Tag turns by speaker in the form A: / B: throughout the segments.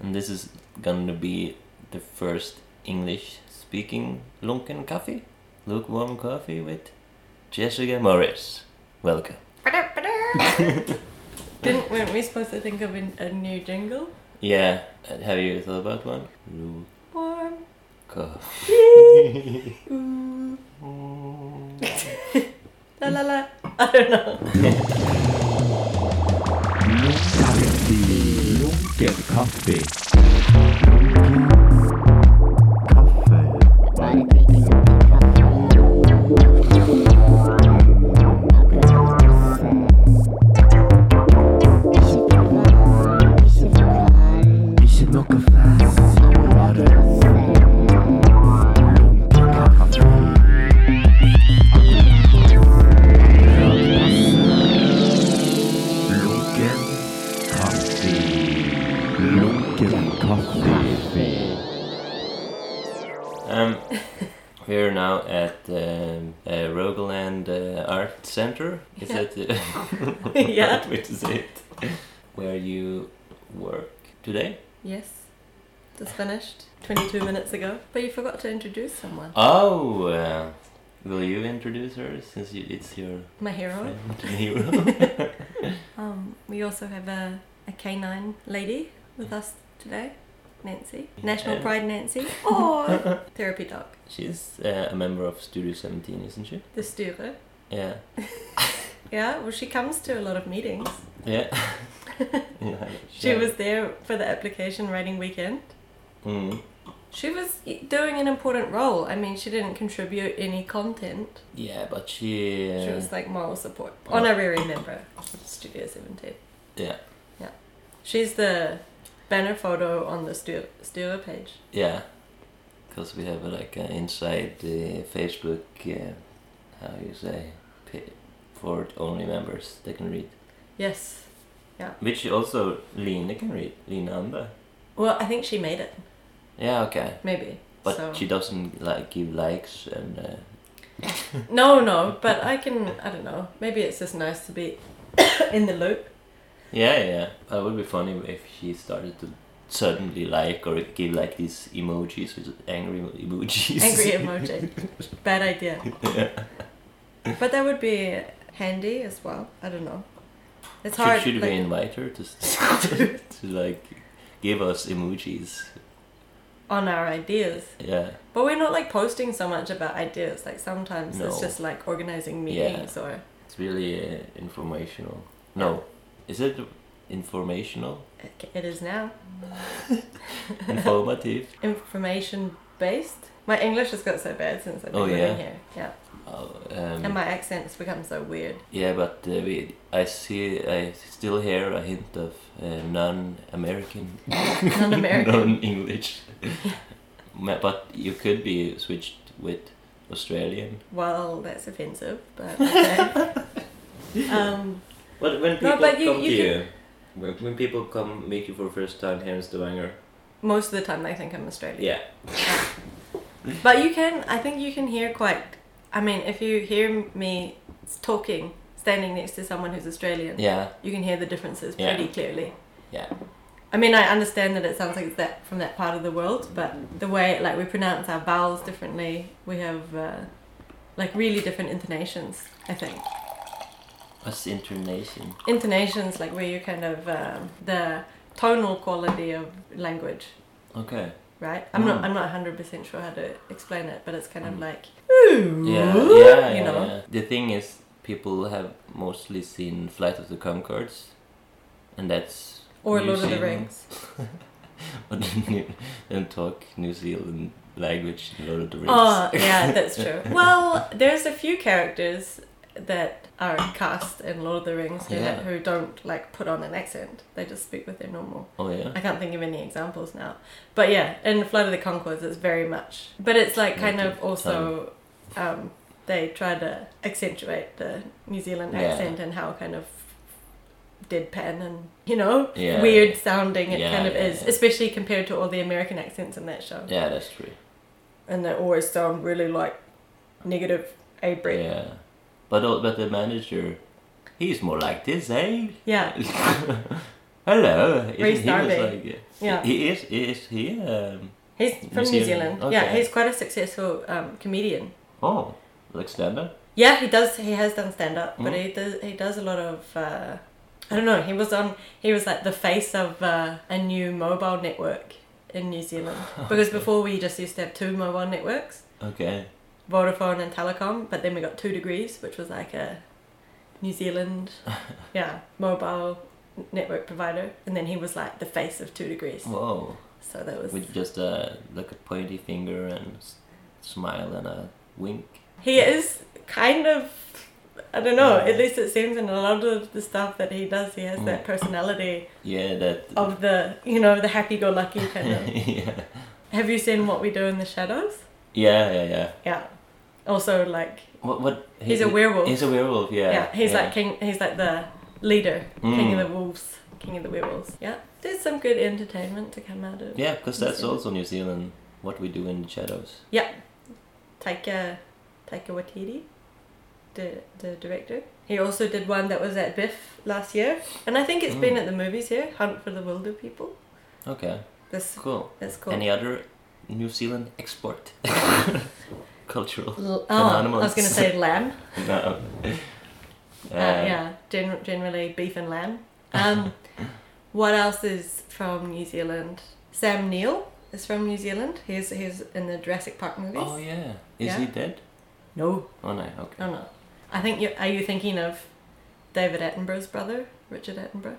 A: and this is going to be the first English speaking Lunken Coffee, lukewarm coffee with Jessica Morris. Welcome.
B: Didn't weren't we supposed to think of an, a new jingle?
A: Yeah, uh, have you thought about one? Luke
B: Warm.
A: coffee.
B: Ooh. la la la. I don't know.
C: Lunken kaffe. Ikke noe fast, bare lunken kaffe. Lunken kaffe. Lunken kaffe.
A: Um, we're now at um, uh, Rogaland uh, Art Center. Is
B: Yeah.
A: that the
B: Yeah.
A: right way to say it? Where you work today?
B: Yes. Just finished 22 minutes ago. But you forgot to introduce someone.
A: Oh, uh, will you introduce her since you, it's your
B: My hero.
A: friend and hero?
B: Um, we also have a, a canine lady with us today. Nancy. National
A: Yeah.
B: Pride Nancy. Oh! Therapy dog.
A: She's uh, a member of Studio 17, isn't she?
B: The Sture.
A: Yeah.
B: Yeah, well, she comes to a lot of meetings.
A: Yeah. yeah
B: She was there for the application writing weekend.
A: Mm.
B: She was e, doing an important role. I mean, she didn't contribute any content.
A: Yeah, but she. Uh,
B: She was like moral support,
A: Oh.
B: honorary member of Studio 17.
A: Yeah.
B: Yeah. She's the banner photo on the Stura Stura page.
A: Yeah. Because we have uh, like an inside uh, Facebook, uh, how you say, pa- for only members they can read.
B: Yes.
A: Which also Lina can read. Lina Amber.
B: Well, I think she made it,
A: Yeah, okay.
B: maybe.
A: But
B: so.
A: she doesn't like give likes and. Uh,
B: No, no, but I can, I don't know. Maybe it's just nice to be in the loop.
A: Yeah, yeah. That would be funny if she started to suddenly like or give like these emojis, which angry emojis.
B: Angry emoji. Bad idea. But that would be handy as well. I don't know. It's
A: should,
B: hard.
A: should
B: like-
A: we invite her to, s- to like give us emojis?
B: on our ideas.
A: Yeah,
B: But we're not like posting so much about ideas. Like sometimes
A: No.
B: it's just like organizing
A: Yeah.
B: meetings or
A: it's really uh, informational. No, is it informational?
B: it- it is now
A: Informative?
B: information based. My English has got so bad since I've been
A: Oh, yeah.
B: living here. Yeah.
A: Oh,
B: And
A: um,
B: my accent's become so weird.
A: yeah, but uh, we, I see, I still hear a hint of uh, non-American
B: Non American.
A: non English. but you could be switched with Australian.
B: Well, that's offensive, but okay. um,
A: But when people
B: No, but you-
A: come
B: you
A: to
B: can-
A: you, when, when people come meet you for first time here in Stavanger,
B: most of the time they think I'm Australian.
A: yeah,
B: But you can, I think you can hear quite. I mean, if you hear me talking, standing next to someone who's Australian,
A: yeah,
B: you can hear the differences
A: Yeah.
B: pretty clearly.
A: Yeah.
B: I mean, I understand that it sounds like it's that from that part of the world, but the way like we pronounce our vowels differently, we have uh, like really different intonations. I think
A: what's intonation?
B: intonations like where you kind of um, the tonal quality of language,
A: Okay.
B: right? I'm
A: Mm.
B: not I'm not hundred percent sure how to explain it, but it's kind of
A: Mm.
B: like
A: Yeah,
B: Ooh,
A: yeah,
B: you
A: yeah,
B: know.
A: yeah. The thing is, people have mostly seen Flight of the Concords, and that's
B: or
A: New
B: Lord of the
A: Zealand.
B: Rings.
A: and talk New Zealand language, in Lord of the Rings.
B: Oh yeah, that's true. well, there's a few characters that are cast in Lord of the Rings who,
A: Yeah.
B: who don't like put on an accent. They just speak with their normal.
A: Oh, yeah.
B: I can't think of any examples now. But yeah, in Flight of the Concords it's very much but it's like kind of
A: Native
B: also um, they try to accentuate the New Zealand
A: Yeah.
B: accent and how kind of deadpan and you know
A: Yeah.
B: weird sounding it
A: Yeah,
B: kind of
A: yeah,
B: is
A: yeah.
B: especially compared to all the american accents in that show
A: Yeah, that's true.
B: and they always sound really like negative a break.
A: Yeah, oh, but uh, but the manager, he's more like this, eh?
B: Yeah.
A: Hello. He-
B: Reece
A: he was
B: Darby.
A: like-
B: Yeah.
A: He is. Is he? Um,
B: He's from New
A: Zealand.
B: Zealand. Yeah,
A: Okay.
B: he's quite a successful um, comedian.
A: oh, like stand up.
B: Yeah, he does. He has done stand up, but
A: Mhm.
B: he does. He does a lot of. Uh, I don't know. He was on. He was like the face of uh, a new mobile network in New Zealand because before we just used to have two mobile networks,
A: Okay.
B: Vodafone and Telecom, but then we got Two Degrees, which was like a New Zealand, yeah, mobile n- network provider, and then he was like the face of Two Degrees.
A: Whoa.
B: So that was
A: With just a like a pointy finger and s- smile and a wink.
B: He is kind of, I don't know, at least it seems in a lot of the stuff that he does, he has that personality
A: Yeah. That.
B: of the, you know, the happy go lucky kind of.
A: yeah.
B: Have you seen What We Do in the Shadows?
A: Yeah. Yeah. Yeah.
B: Yeah. Also, like,
A: What? What? he-
B: he's a werewolf.
A: He's a werewolf. Yeah. Mm.
B: yeah, he's like king, he's like the leader, king of the wolves, king of the werewolves. Yeah. There's some good entertainment to come out of.
A: Yeah, because
B: New
A: that's
B: Zealand.
A: also New Zealand. What we do in the shadows.
B: Taika, Taika Waititi, the, the director. He also did one that was at BIFF last year, and I think it's been
A: Mm.
B: at the movies here. Hunt for the Wilder People.
A: Okay.
B: This
A: Cool.
B: that's cool.
A: Any other New Zealand export? Cultural.
B: L- oh, I
A: Anonymous.
B: was gonna say lamb.
A: No.
B: Uh, yeah, gen- generally beef and lamb. Um, what else is from New Zealand? Sam Neill is from New Zealand. He's he's in the Jurassic Park movies.
A: Oh yeah. Is he
B: Yeah.
A: dead?
B: No,
A: Oh no. Okay.
B: oh no. I think you are you thinking of David Attenborough's brother, Richard Attenborough.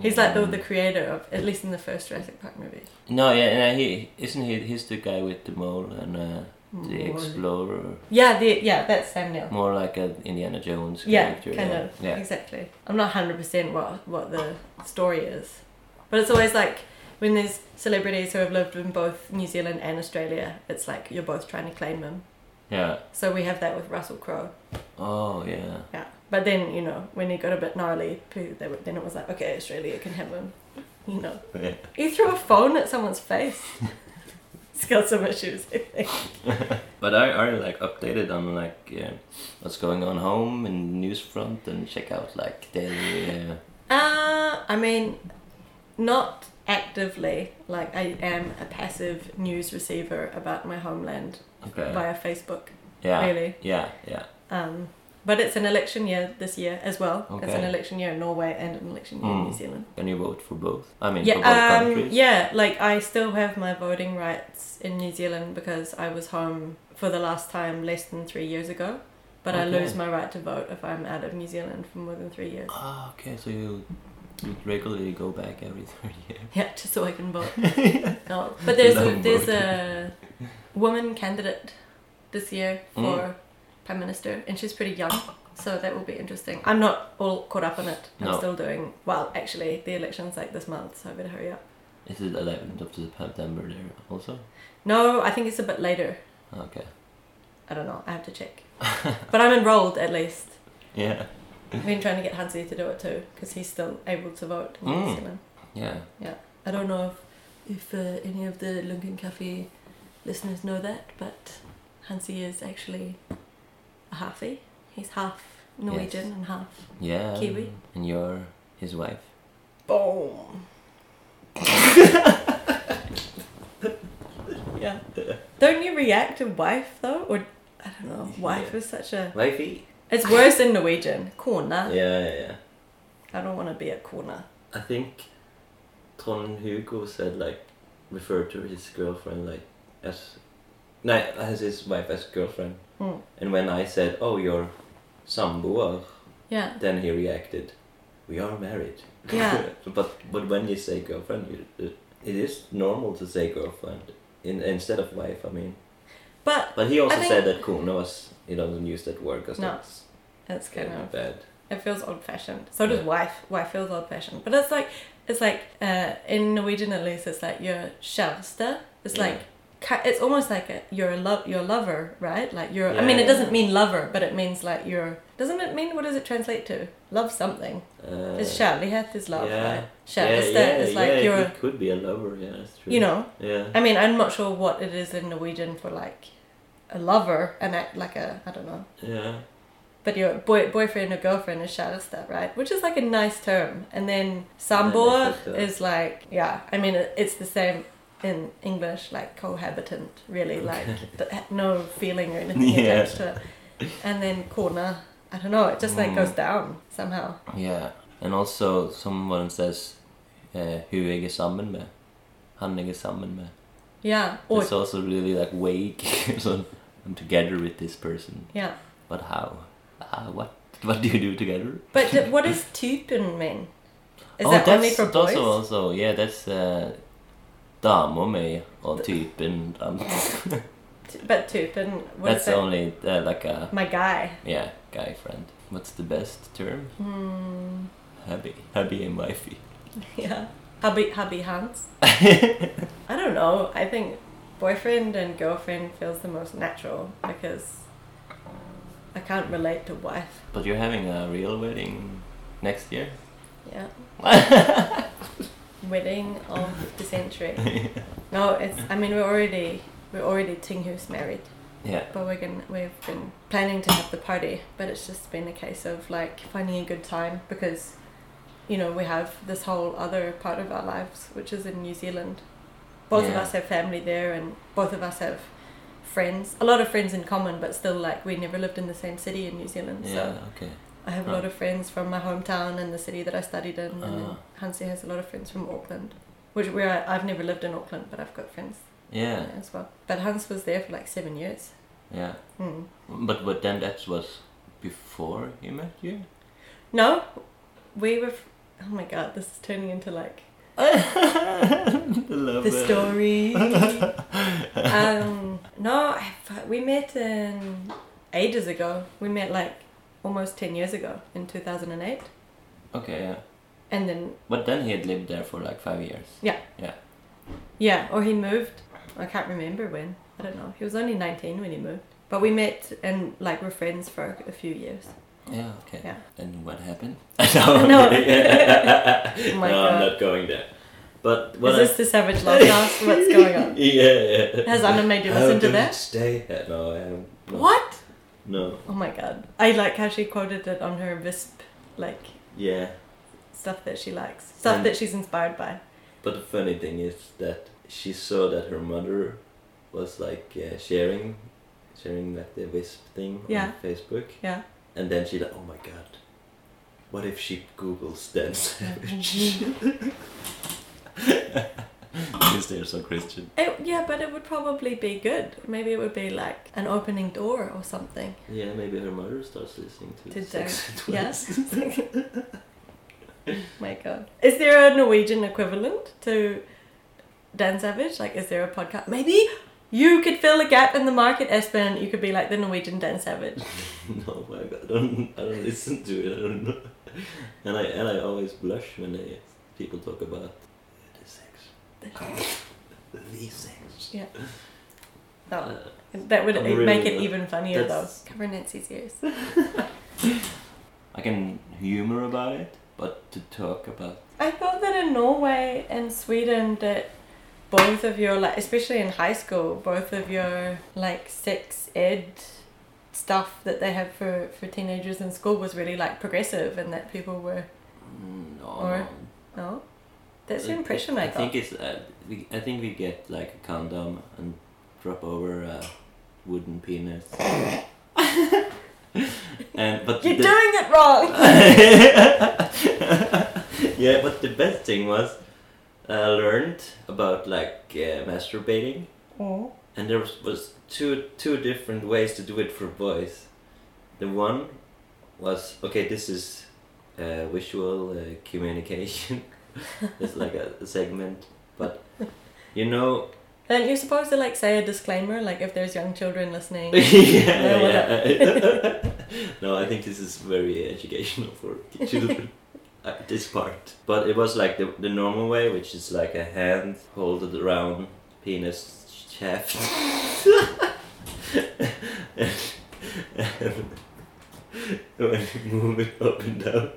B: He's like the, the
A: Mm.
B: creator of, at least in the first Jurassic Park movie.
A: No, yeah, no, he isn't he. He's the guy with the mole and uh, the explorer,
B: Yeah, the, yeah, that's Sam Neill.
A: more like an Indiana Jones
B: Yeah,
A: character.
B: kind
A: yeah.
B: of.
A: Yeah.
B: Exactly. I'm not 100% what, what the story is. But it's always like when there's celebrities who have lived in both New Zealand and Australia, it's like you're both trying to claim them.
A: Yeah.
B: So we have that with Russell Crowe.
A: Oh yeah.
B: Yeah. But then, you know, when he got a bit gnarly, poo, they were, then it was like, okay, Australia can have him. You know.
A: Yeah.
B: You threw a phone at someone's face. it's got some issues.
A: But I are like updated on like uh, what's going on home and news front and check out like daily. Uh,
B: Uh, I mean, not actively. Like, I am a passive news receiver about my homeland
A: okay.
B: via Facebook,
A: Yeah.
B: really.
A: Yeah. Yeah.
B: Um, but it's an election year this year as well. It's an
A: Okay.
B: election year in Norway and an election year in
A: Mm.
B: New Zealand.
A: Can you vote for both? I mean, for
B: yeah,
A: both
B: um,
A: countries.
B: yeah. Like, I still have my voting rights in New Zealand because I was home for the last time less than three years ago. But I
A: Okay.
B: lose my right to vote if I'm out of New Zealand for more than three years.
A: Ah, okay. So you, you regularly go back every third year.
B: Yeah, just so I can vote. No, but there's a,
A: Long
B: there's
A: vote.
B: a woman candidate this year for
A: Mm.
B: prime minister, and she's pretty young, so that will be interesting. I'm not all caught up on it. I'm
A: No.
B: still doing well. Actually, the election's like this month, so I better hurry up.
A: Is it 11th of September there also?
B: No, I think it's a bit later.
A: Okay.
B: I don't know. I have to check. but I'm enrolled at least.
A: Yeah.
B: I've been trying to get Hansi to do it too because he's still able to vote in New
A: Mm.
B: Zealand.
A: Yeah.
B: I don't know if, if uh, any of the Lunken Cafe listeners know that, but Hansi is actually a halfie. He's half Norwegian and half.
A: Yeah.
B: Kiwi.
A: And you're his wife.
B: Boom! yeah. Don't you react to wife though? Or, I don't know, wife
A: Yeah.
B: is such a.
A: Wifey?
B: It's worse in Norwegian. Corner.
A: Yeah, yeah, yeah.
B: I don't want to be a corner.
A: I think Ton Hugo said, like, referred to his girlfriend, like, as. No, as his wife as girlfriend.
B: Mm.
A: And when I said, oh, you're sambo, uh,
B: Yeah.
A: then he reacted, we are married.
B: Yeah.
A: but but when you say girlfriend, you, it- it is normal to say girlfriend in, instead of wife, I mean.
B: But
A: But he also
B: I think-
A: said that Kuno was he doesn't use that word because
B: No.
A: that's
B: that's kind
A: kind
B: of.
A: of bad.
B: It feels old fashioned. So does
A: Yeah.
B: wife. Wife feels old fashioned. But it's like it's like uh, in Norwegian at least it's like your kjæreste. It's
A: Yeah.
B: like ki- it's almost like a, you're a love your lover, right? Like you're I
A: Yeah,
B: mean it
A: yeah.
B: doesn't mean lover, but it means like you're doesn't it mean what does it translate to? Love something.
A: Uh,
B: it's kjærlighet is love,
A: yeah.
B: right?
A: yeah,
B: Kjæreste
A: yeah,
B: is like
A: yeah,
B: you're
A: it could be a lover. Yeah, that's true.
B: you know.
A: Yeah.
B: I mean I'm not sure what it is in Norwegian for like a lover and act like a I don't know.
A: Yeah.
B: But your boy, boyfriend or girlfriend is kjæreste, right? Which is like a nice term. And then samboer
A: sister.
B: is like, yeah, I mean, it- it's the same in English, like cohabitant, really, like th- no feeling or anything
A: Yeah.
B: attached to it. And then corner, I don't know, it just like
A: Mm.
B: goes down somehow.
A: Yeah. And also someone says uh, who jeg er sammen med. Han jeg er sammen med.
B: Yeah. Or,
A: It's also really like vague. so I'm together with this person.
B: yeah.
A: But how? Uh, what? What do you do together?
B: But th- what does typen mean? Is
A: oh,
B: that
A: that's
B: only for
A: that's
B: boys?
A: also yeah, that's uh, damer med og typen. Um,
B: T- But typen, what is
A: that's
B: that?
A: only uh, like a
B: My guy.
A: yeah guy friend. What's the best term?
B: Hmm.
A: Hubby, hubby and wifey.
B: Yeah. Hubby, hubby Hans. I don't know. I think boyfriend and girlfriend feels the most natural because I can't relate to wife.
A: But you're having a real wedding next year.
B: Yeah. Wedding of the century. No, it's. I mean, we're already we're already Tinghus married,
A: Yeah.
B: but we're gonna we've been planning to have the party, but it's just been a case of like finding a good time because, you know, we have this whole other part of our lives which is in New Zealand. Both of
A: Yeah.
B: us have family there, and both of us have friends. A lot of friends in common, but still like we never lived in the same city in New Zealand. So.
A: Yeah. Okay.
B: I have a lot of friends from my hometown and the city that I studied in. And then
A: Ah.
B: Hansi has a lot of friends from Auckland, which where I, I've never lived in Auckland, but I've got friends
A: Yeah.
B: there as well. But Hans was there for like seven years.
A: Yeah.
B: Mm.
A: But but then that was before he met you.
B: No, we were. F- oh my god, this is turning into like
A: the love
B: the
A: it.
B: story. um, no, I f- we met in ages ago. We met like almost ten years ago in two thousand and eight,
A: Okay. Yeah.
B: and then
A: But then he had lived there for like five years.
B: Yeah, or he moved. I can't remember when. I don't know. He was only 19 when he moved. But we met and like we're friends for a few years.
A: Yeah. Okay.
B: Yeah.
A: And what happened?
B: No.
A: no,
B: Oh my
A: I'm
B: God.
A: not going there. But what
B: Is this the Savage Love House? What's going
A: I,
B: on?
A: yeah, yeah.
B: Has Anna made you
A: How
B: listen to
A: did
B: that?
A: it Stay. Yeah, No, I haven't. No.
B: What?
A: No.
B: Oh my god. I like how she quoted it on her Visp, like
A: Yeah.
B: stuff that she likes, stuff
A: And-
B: that she's inspired by.
A: But the funny thing is that she saw that her mother was like uh, sharing, sharing like the wisp thing
B: Yeah.
A: on Facebook,
B: Yeah.
A: and then she like, oh my god, what if she googles Dan Savage? Because they're so Christian.
B: It, yeah, but it would probably be good. Maybe it would be like an opening door or something.
A: Yeah, maybe her mother starts listening to
B: Did
A: Sex and
B: Yes.
A: Drugs.
B: my god. Is there a Norwegian equivalent to Dan Savage? Like, is there a podcast? Maybe you could fill a gap in the market, Espen. You could be like the Norwegian Dan Savage.
A: no, my god, I don't, I don't listen to it. I don't know. And I and I always blush when they, people talk about the sex, the sex.
B: That, that would
A: I'm really-
B: make it even funnier, though.
A: that's-
B: Cover Nancy's ears.
A: I can humor about it, but to talk about
B: I thought that in Norway and Sweden that both of your like especially in high school, both of your like sex ed stuff that they have for, for teenagers in school was really like progressive and that people were
A: Mm, no,
B: Or-
A: no.
B: no? That's the
A: I-
B: impression I,
A: I
B: got.
A: think it's uh, we, I think we get like a condom and drop over a wooden penis. and but
B: You're
A: the-
B: doing it wrong.
A: yeah, but the best thing was I learned about like uh, masturbating,
B: Oh.
A: and there was, was two two different ways to do it for boys. The one was okay. This is uh, visual uh, communication. it's like a, a segment, but you know,
B: And you're supposed to like say a disclaimer, like if there's young children listening.
A: yeah,
B: No, what
A: yeah. no, I think this is very educational for children. uh, this part, but it was like the, the normal way, which is like a hand holded around penis shaft. and when you move it up and down,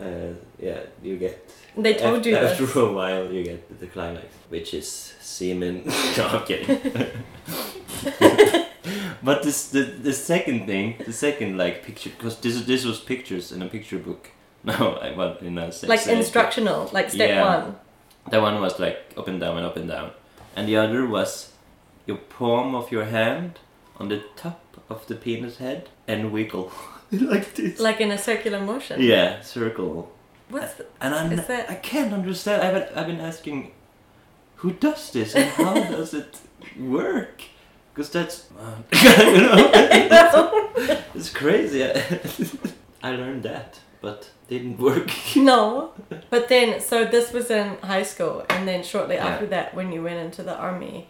A: uh, yeah, you get.
B: They told
A: after,
B: you
A: after
B: this.
A: a while, you get the climax, which is semen. no, I'm kidding. But this the the second thing, the second like picture, because this is- this was pictures in a picture book. No, I well in a sex
B: like
A: ed book.
B: instructional, like step
A: Yeah.
B: one.
A: That one was like up and down and up and down, and the other was your palm of your hand on the top of the penis head and wiggle like this.
B: Like in a circular motion.
A: Yeah, circle.
B: What's the,
A: And I'm,
B: Is that-
A: I can't understand. I've been, I've been asking, who does this and how does it work? Because that's, you know, it's crazy. I learned that, but didn't work.
B: no. But then, so this was in high school, and then shortly
A: Yeah.
B: after that, when you went into the army,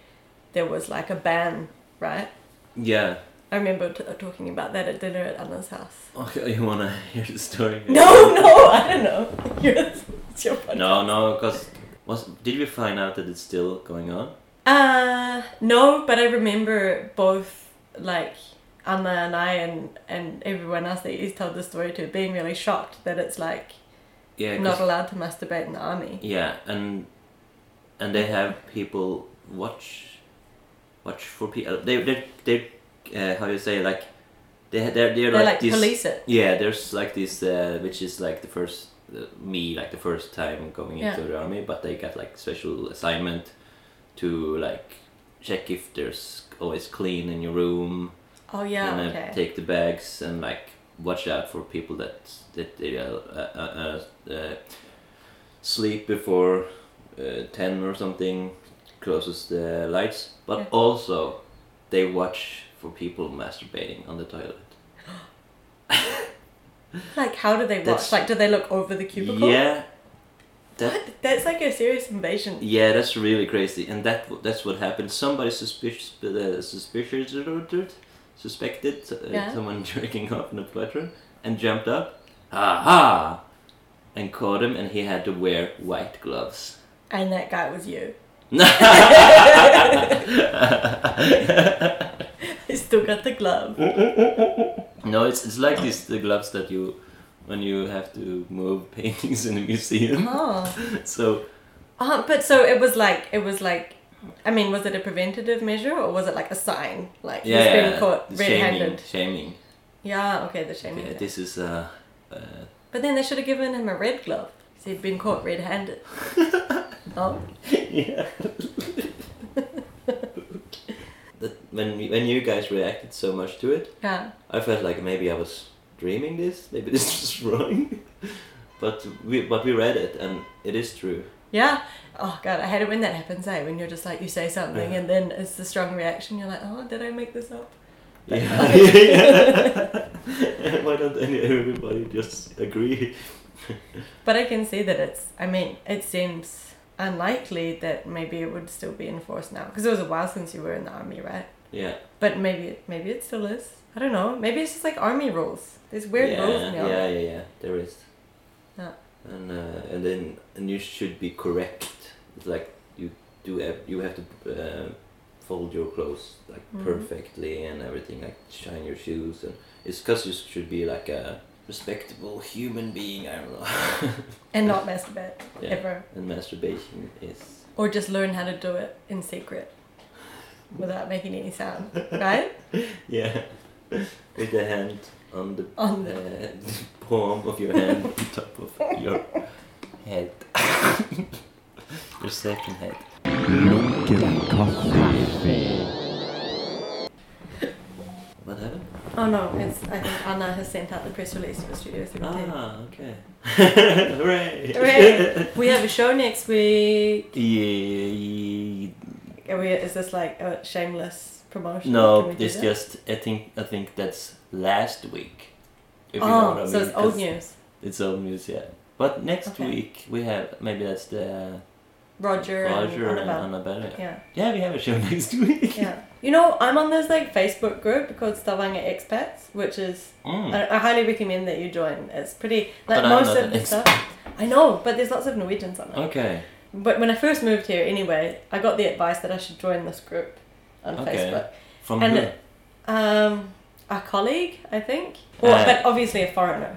B: there was like a ban, right?
A: Yeah.
B: I remember t- talking about that at dinner at Anna's house.
A: Okay, you wanna hear the story?
B: No, no, I don't know. You're, it's your podcast.
A: No, no, because was did we find out that it's still going on?
B: Uh, no, but I remember both, like, Anna and I and, and everyone else that he's told the story to being really shocked that it's like
A: Yeah. 'cause-
B: not allowed to masturbate in the army.
A: Yeah, and and they have people watch watch for people. They they they uh, how you say like they ha- they're they're
B: They
A: like,
B: like
A: this.
B: police it.
A: Yeah, there's like this uh, which is like the first uh, me like the first time going into
B: Yeah.
A: the army, but they got like special assignment to like check if there's always clean in your room
B: Oh yeah,
A: and uh,
B: okay.
A: take the bags and like watch out for people that that they uh, uh, uh, uh, sleep before uh, ten or something closes the lights. But
B: Yeah.
A: also, they watch for people masturbating on the toilet.
B: like how do they watch?
A: That's-
B: Like do they look over the cubicle?
A: Yeah, that
B: What? That's like a serious invasion.
A: yeah, that's really crazy, and that w- that's what happened. Somebody suspicious, uh, suspicious, suspected uh,
B: Yeah.
A: someone jerking off in a bathroom and jumped up, aha, and caught him, and he had to wear white gloves.
B: And that guy was you. He still got the glove.
A: No, it's it's like these the gloves that you when you have to move paintings in a museum.
B: Oh.
A: So
B: Uh, but so it was like it was like I mean, was it a preventative measure or was it like a sign? Like
A: yeah,
B: he's been
A: yeah,
B: caught
A: the
B: red
A: shaming,
B: handed.
A: shaming.
B: Yeah, okay, the shaming.
A: Yeah,
B: thing.
A: this is uh, uh
B: But then they should have given him a red glove. 'cause He'd been caught red handed. oh.
A: yeah. that when we- when you guys reacted so much to it,
B: Yeah.
A: I felt like maybe I was dreaming this, maybe this was wrong. but we but we read it and it is true.
B: Yeah. Oh god, I hate it when that happens, eh? When you're just like you say something
A: Yeah.
B: and then it's the strong reaction, you're like, Oh, did I make this up?
A: Yeah. Yeah. Why don't any- everybody just agree?
B: But I can see that it's, I mean, it seems unlikely that maybe it would still be enforced now. Because it was a while since you were in the army, right?
A: Yeah.
B: But maybe, maybe it still is. I don't know. Maybe it's just like army rules. There's weird
A: yeah,
B: rules in the army.
A: Yeah, yeah, yeah. There is.
B: Yeah.
A: And uh, and then and you should be correct. It's like you do have, you have to uh, fold your clothes like
B: Mhm.
A: perfectly and everything like shine your shoes and it's because you should be like a respectable human being. I don't know.
B: And not masturbate,
A: Yeah.
B: ever.
A: and masturbation is
B: Or just learn how to do it in secret without making any sound, right?
A: yeah with the hand on the
B: On the-
A: uh, palm of your hand on top of your head. your second head.
C: Lunken kaffe.
A: What happened?
B: Oh no, it's, I think Anna has sent out the press release for Studio 17.
A: Ah, okay. Hooray!
B: Hooray. We have a show next week.
A: Yeah,
B: Are we, is this like a shameless promotion? Can
A: no,
B: we do
A: it's
B: that?
A: just I think I think that's last week. If you know
B: oh,
A: what I
B: so
A: mean,
B: it's old
A: 'cause
B: news.
A: It's old news, yeah. But next
B: Okay.
A: week we have maybe that's the
B: Roger,
A: Roger
B: and
A: and
B: Annabelle.
A: Annabelle.
B: Yeah,
A: Yeah, we have a show next week.
B: yeah. You know, I'm on this like Facebook group called Stavanger Expats, which is
A: Mm.
B: I, I highly recommend that you join. It's pretty like
A: But I'm
B: most
A: not
B: of
A: an
B: the stuff. I know, but there's lots of Norwegians on it.
A: Okay.
B: But when I first moved here, anyway, I got the advice that I should join this group on
A: Okay.
B: Facebook.
A: From
B: And
A: who?
B: it- Um, a colleague, I think, or
A: Uh,
B: but obviously a foreigner.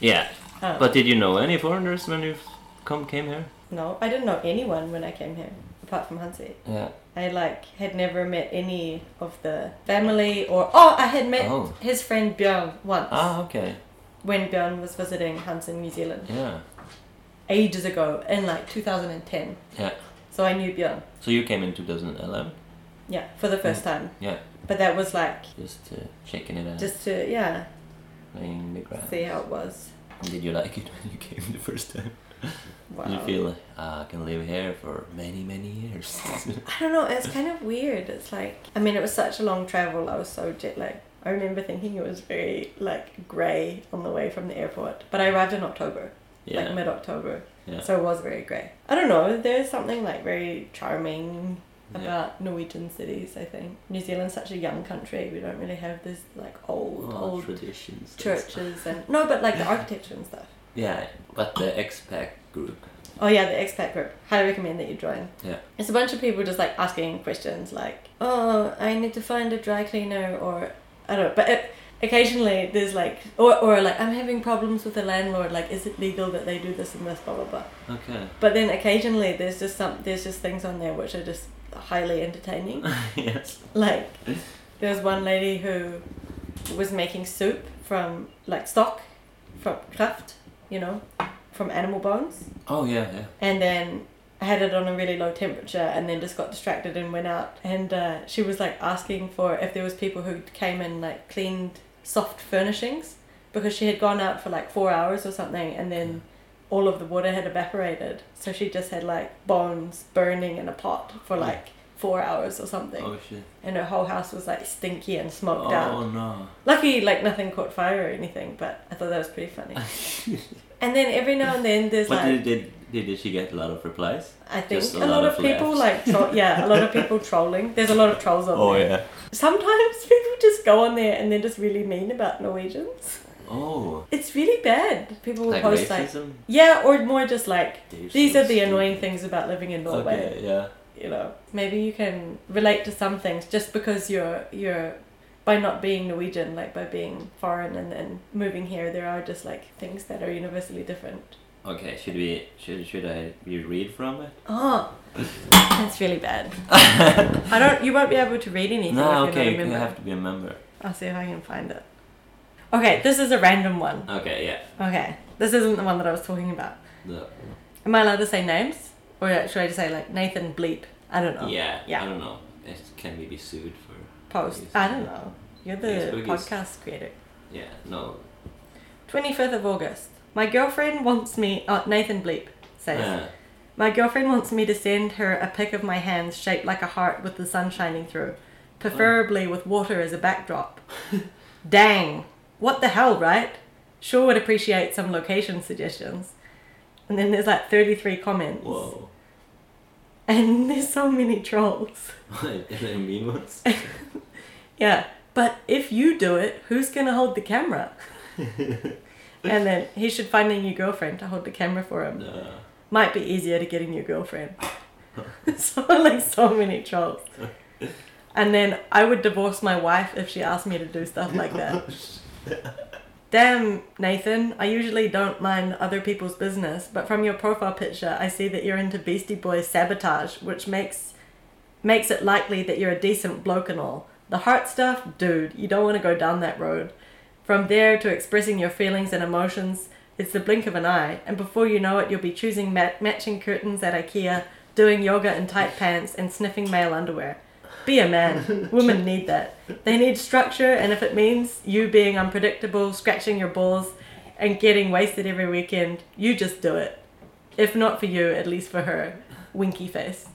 A: yeah.
B: Um,
A: But did you know any foreigners when you come came here?
B: no, I didn't know anyone when I came here. apart from Hansi.
A: Yeah.
B: I like had never met any of the family or oh I had met
A: Oh.
B: his friend Björn once
A: Ah, okay.
B: when Björn was visiting Hans in New Zealand
A: Yeah.
B: ages ago in like 2010.
A: Yeah.
B: So I knew Björn.
A: So you came in 2011,
B: Yeah, for the first time.
A: Yeah.
B: But that was like
A: just uh, checking it out,
B: just to yeah,
A: playing the ground.
B: see how it was.
A: Did you like it when you came the first time?
B: Wow.
A: Did you feel like, "Ah, I can live here for many, many years?
B: I don't know, it's kind of weird. It's like I mean it was such a long travel. I was so jet lagged. I remember thinking it was very like grey on the way from the airport, but I arrived in October. like
A: yeah.
B: mid October.
A: Yeah.
B: So it was very grey. I don't know, there's something like very charming
A: yeah.
B: about Norwegian cities, I think. New Zealand's such a young country, we don't really have this like old,
A: Oh,
B: old
A: traditions. and stuff.
B: churches and no, but like the architecture and stuff.
A: Yeah, but the expat group.
B: Oh yeah, the expat group. Highly recommend that you join.
A: Yeah.
B: It's a bunch of people just like asking questions like, Oh, I need to find a dry cleaner or I don't know, but it, occasionally there's like or, or like I'm having problems with the landlord, like is it legal that they do this and this, blah blah blah.
A: Okay.
B: But then occasionally there's just some there's just things on there which are just highly entertaining.
A: yes.
B: Like there was one lady who was making soup from like stock from kraft, you know, from animal bones,
A: Oh yeah, yeah.
B: and then had it on a really low temperature and then just got distracted and went out and uh, she was like asking for if there was people who came and like cleaned soft furnishings because she had gone out for like four hours or something and then all of the water had evaporated. So she just had like bones burning in a pot for like four hours or something.
A: Oh shit.
B: And her whole house was like stinky and smoked out.
A: Oh no.
B: Lucky, like nothing caught fire or anything, but I thought that was pretty funny. and then every now and then there's
A: But did,
B: like.
A: did did did she get a lot of replies?
B: I think
A: Just
B: a, lot, of, people like tro- yeah, a lot of people trolling. There's a lot of trolls on there.
A: Oh, yeah.
B: Sometimes people just go on there and they're just really mean about Norwegians.
A: Oh.
B: It's really bad. People will
A: Like
B: post like
A: racism.
B: yeah, or more just like
A: They're
B: these
A: so
B: are the annoying
A: stupid.
B: things about living in Norway.
A: Okay. Yeah.
B: You know, maybe you can relate to some things just because you're you're by not being Norwegian, like by being foreign and then moving here, there are just like things that are universally different.
A: Okay. Should we? Should should I? You read from it?
B: Oh, that's really bad. I don't. You won't be able to read anything.
A: no.
B: if
A: Okay. You
B: You're not a member.
A: have to be a member.
B: I'll see if I can find it. Okay, this is a random one.
A: Okay. Yeah.
B: Okay, this isn't the one that I was talking about.
A: The,
B: Am I allowed to say names, or should I just say like Nathan Bleep? I don't know.
A: yeah.
B: Yeah.
A: I don't know. It can we be sued for?
B: post.
A: Yes.
B: I don't know. You're the
A: Yes, but yes.
B: podcast creator.
A: Yeah. No.
B: 25th of August. My girlfriend wants me. Oh, Nathan Bleep says.
A: Yeah.
B: My girlfriend wants me to send her a pic of my hands shaped like a heart with the sun shining through, preferably with water as a backdrop. Dang. What the hell, right? Sure would appreciate some location suggestions. And then there's like 33 comments.
A: Whoa.
B: And there's so many trolls.
A: What? the mean ones?
B: Yeah, but if you do it, who's gonna hold the camera? and then he should find a new girlfriend to hold the camera for him.
A: No.
B: Might be easier to get a new girlfriend. so like so many trolls. And then I would divorce my wife if she asked me to do stuff like that. Damn, Nathan, I usually don't mind other people's business, but from your profile picture I see that you're into Beastie Boys sabotage, which makes makes it likely that you're a decent bloke and all. The heart stuff, dude, you don't want to go down that road. From there to expressing your feelings and emotions, it's the blink of an eye, and before you know it, you'll be choosing ma- matching curtains at IKEA, doing yoga in tight pants, and sniffing male underwear. Be a man. Women need that. They need structure, and if it means you being unpredictable, scratching your balls, and getting wasted every weekend, you just do it. If not for you, at least for her. Winky face.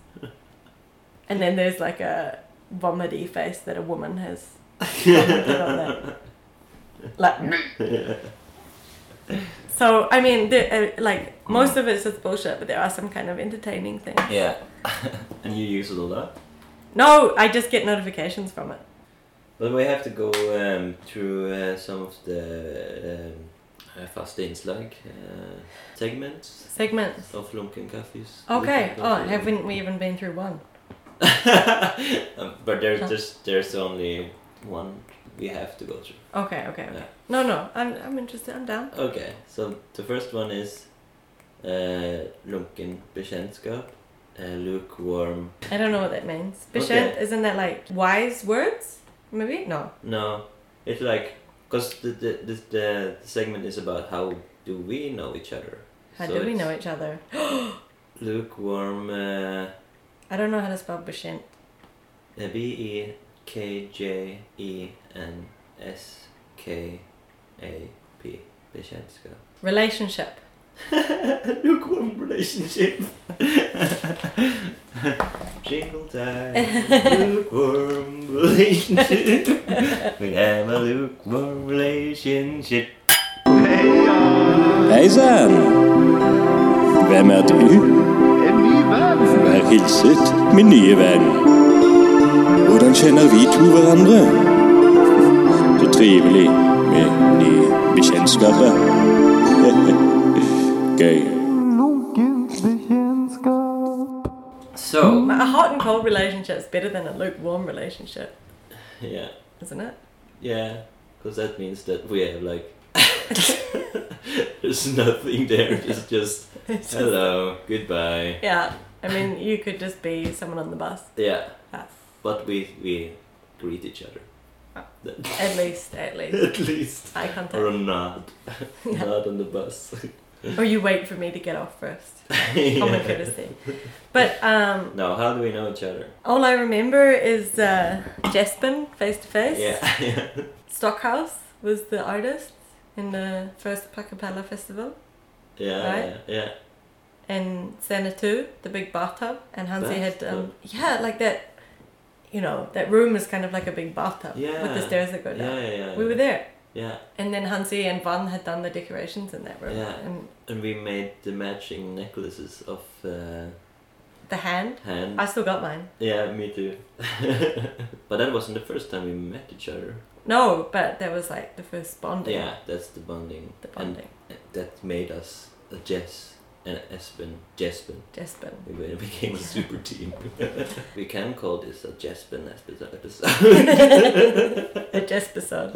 B: And then there's like a vomity face that a woman has commented on that. Like, so I mean, there, uh, like most of it's just bullshit, but there are some kind of entertaining things.
A: Yeah. and you use it a lot.
B: No, I just get notifications from it.
A: But we have to go um, through uh, some of the um, uh, fast inslag uh, segments
B: Segments.
A: of Lunken Coffees.
B: Okay. Oh, haven't we even been through one?
A: Um, but there's just there's only one we have to go through.
B: Okay. Okay. Okay.
A: Yeah.
B: No, no. I'm I'm interested. I'm down.
A: Okay, so the first one is uh, Lunken Bekjentskap. uh, lukewarm.
B: I don't know what that means. Bishad,
A: Okay.
B: isn't that like wise words? Maybe? No.
A: No, it's like because the the, the the segment is about how do we know each other.
B: How
A: So
B: do we
A: it's
B: know each other?
A: Lukewarm. Uh,
B: I don't know how to spell Bishent.
A: B e k j e n s k a p. Bishenska.
B: Relationship.
A: Lukewarm relationship. Jingle time. lukewarm relationship. we have a lukewarm relationship.
D: Hejsan! Vem är du? En ny vän! Vær hilset, min nye venn. Hvordan kjenner vi to hverandre? Så trivelig med nye bekjentskaper. Gøy.
A: So,
B: A hot and cold relationship is better than a lukewarm relationship,
A: yeah.
B: isn't it?
A: Yeah, because that means that we have like. There's nothing there, it's just
B: It's just-
A: hello, goodbye.
B: yeah. I mean, you could just be someone on the bus.
A: Yeah,
B: Ah.
A: but we we greet each other. That-
B: At least, at least.
A: At least.
B: Eye
A: Or a
B: contact.
A: nod. nod on the bus.
B: Or you wait for me to get off first. Oh
A: Yeah.
B: Common courtesy. But um,
A: No, how do we know each other?
B: all I remember is uh, Jespen face to face.
A: Yeah.
B: Stockhouse was the artist in the first Pacapella festival,
A: yeah,
B: Right?
A: yeah, yeah.
B: and Sanatu, the big bathtub, and Hansi had um,
A: Bathtub.
B: yeah, like that. You know that room is kind of like a big bathtub with the
A: Yeah.
B: stairs that go
A: Yeah,
B: down.
A: yeah, yeah.
B: uh, We were there,
A: Yeah,
B: and then Hansi and Van had done the decorations in that room,
A: Yeah.
B: and
A: and we made the matching necklaces of uh,
B: the hand.
A: hand.
B: I still got mine.
A: Yeah, me too. but that wasn't the first time we met each other.
B: No, but that was like the first bonding.
A: Yeah, that's the bonding.
B: The bonding.
A: And that made us a Jess and Espen. Jespen.
B: Jespen.
A: We be- became a super team. we can call this a Jespen episode. episode.
B: A Jesperson.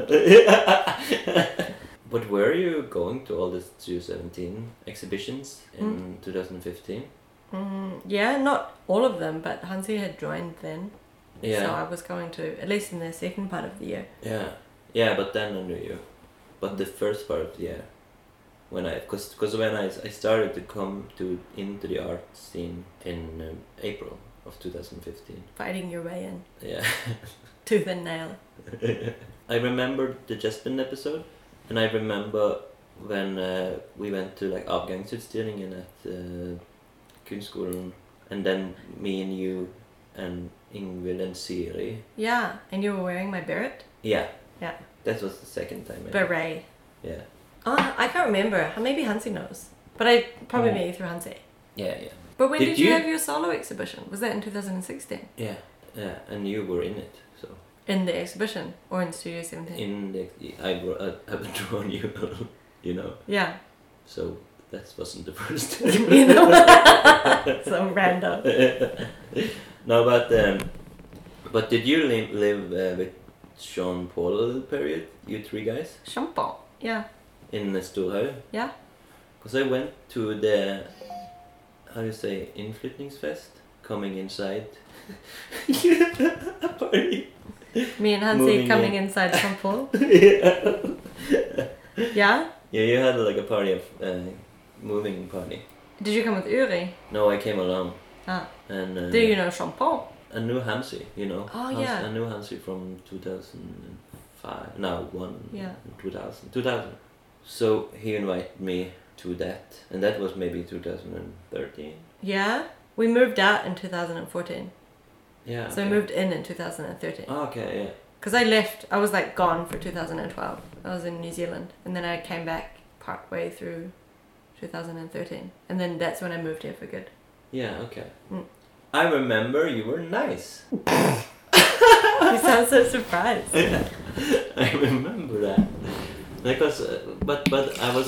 A: but were you going to all these 2017 exhibitions in 2015?
B: Mm, yeah, not all of them, but Hansi had joined then.
A: Yeah.
B: So I was going to, at least in the second part of the year.
A: Yeah, yeah, but then I knew you. But the first part, yeah, when I, cause, cause when I, I started to come to into the art scene in um, April of 2015.
B: fighting your way in
A: Yeah,
B: tooth and nail.
A: I remember the Jespen episode, and I remember when uh, we went to like Avgangsutstillingen at uh, Kunstskolen, and then me and you and Ingvild and Siri.
B: Yeah, and you were wearing my beret?
A: Yeah.
B: Yeah.
A: That was the second time. I
B: Beret.
A: Yeah.
B: Oh, I can't remember. Maybe Hansi knows. But I probably met you through Hansi.
A: Yeah, yeah.
B: But when did,
A: Oh. Did
B: you
A: you-
B: have your solo exhibition? Was that in 2016?
A: Yeah, yeah, and you were in it, so
B: In the exhibition or in Studio 17?
A: in the I were I, I've drawn you, you know.
B: Yeah.
A: So that wasn't the first time.
B: you know? so random.
A: no, but um, but did you li- live uh, with Sean Paul a little period? You three guys
B: Champon. Yeah.
A: in Storhaug?
B: Yeah.
A: Because I went to the how do you say inflytningsfest, coming inside party.
B: Me and Hansi
A: Moving
B: coming inside Champon. yeah?
A: Yeah, you had like a party of uh, moving party.
B: Did you come with Uri?
A: No, I came along.
B: Ah.
A: And uh,
B: Do you know Champon?
A: a new Hamsi, you know.
B: Oh, yeah.
A: A new Hamsi from 2005. No, one.
B: Yeah.
A: 2000. 2000. So he invited me to that, and that was maybe 2013.
B: Yeah. We moved out in 2014.
A: Yeah.
B: So I
A: okay.
B: moved in in 2013.
A: Oh, okay. Yeah.
B: Because I left, I was like gone for 2012. I was in New Zealand. And then I came back partway through 2013. And then that's when I moved here for good.
A: Yeah. Okay.
B: Mm.
A: I remember you were nice.
B: you sound so surprised.
A: I remember that. Because, uh, but but I was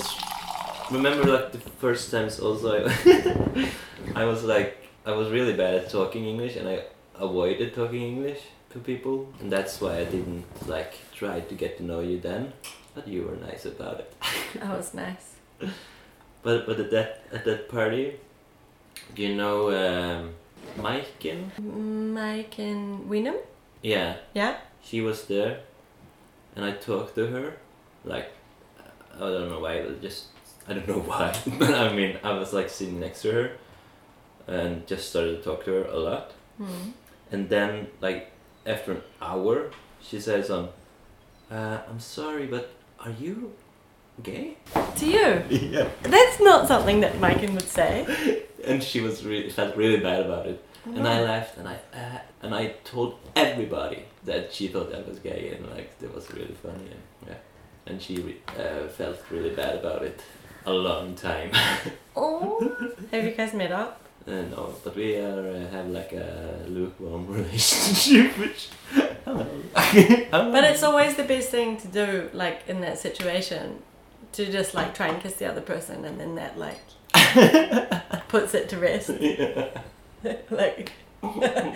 A: remember like the first times also. I, I was like I was really bad at talking English and I avoided talking English to people and that's why I didn't like try to get to know you then. But you were nice about it.
B: That was nice.
A: But but at that at that party, you know um, Maiken?
B: Mike and Wynnum.
A: Yeah.
B: Yeah.
A: She was there, and I talked to her, like, I don't know why, it was just, I don't know why, but I mean, I was like sitting next to her, and just started to talk to her a lot,
B: Mm.
A: and then like after an hour, she says, um, uh, I'm sorry, but are you gay?
B: To you.
A: Yeah.
B: That's not something that Mike would say.
A: And she was really felt really bad about it. And I laughed and I uh, and I told everybody that she thought I was gay and like it was really funny and yeah. And she re- uh, felt really bad about it a long time.
B: Oh. Have you guys met up?
A: Uh, no, but we are, uh, have like a lukewarm relationship, which Mm.
B: But it's always the best thing to do, like in that situation, to just like try and kiss the other person, and then that like puts it to rest. like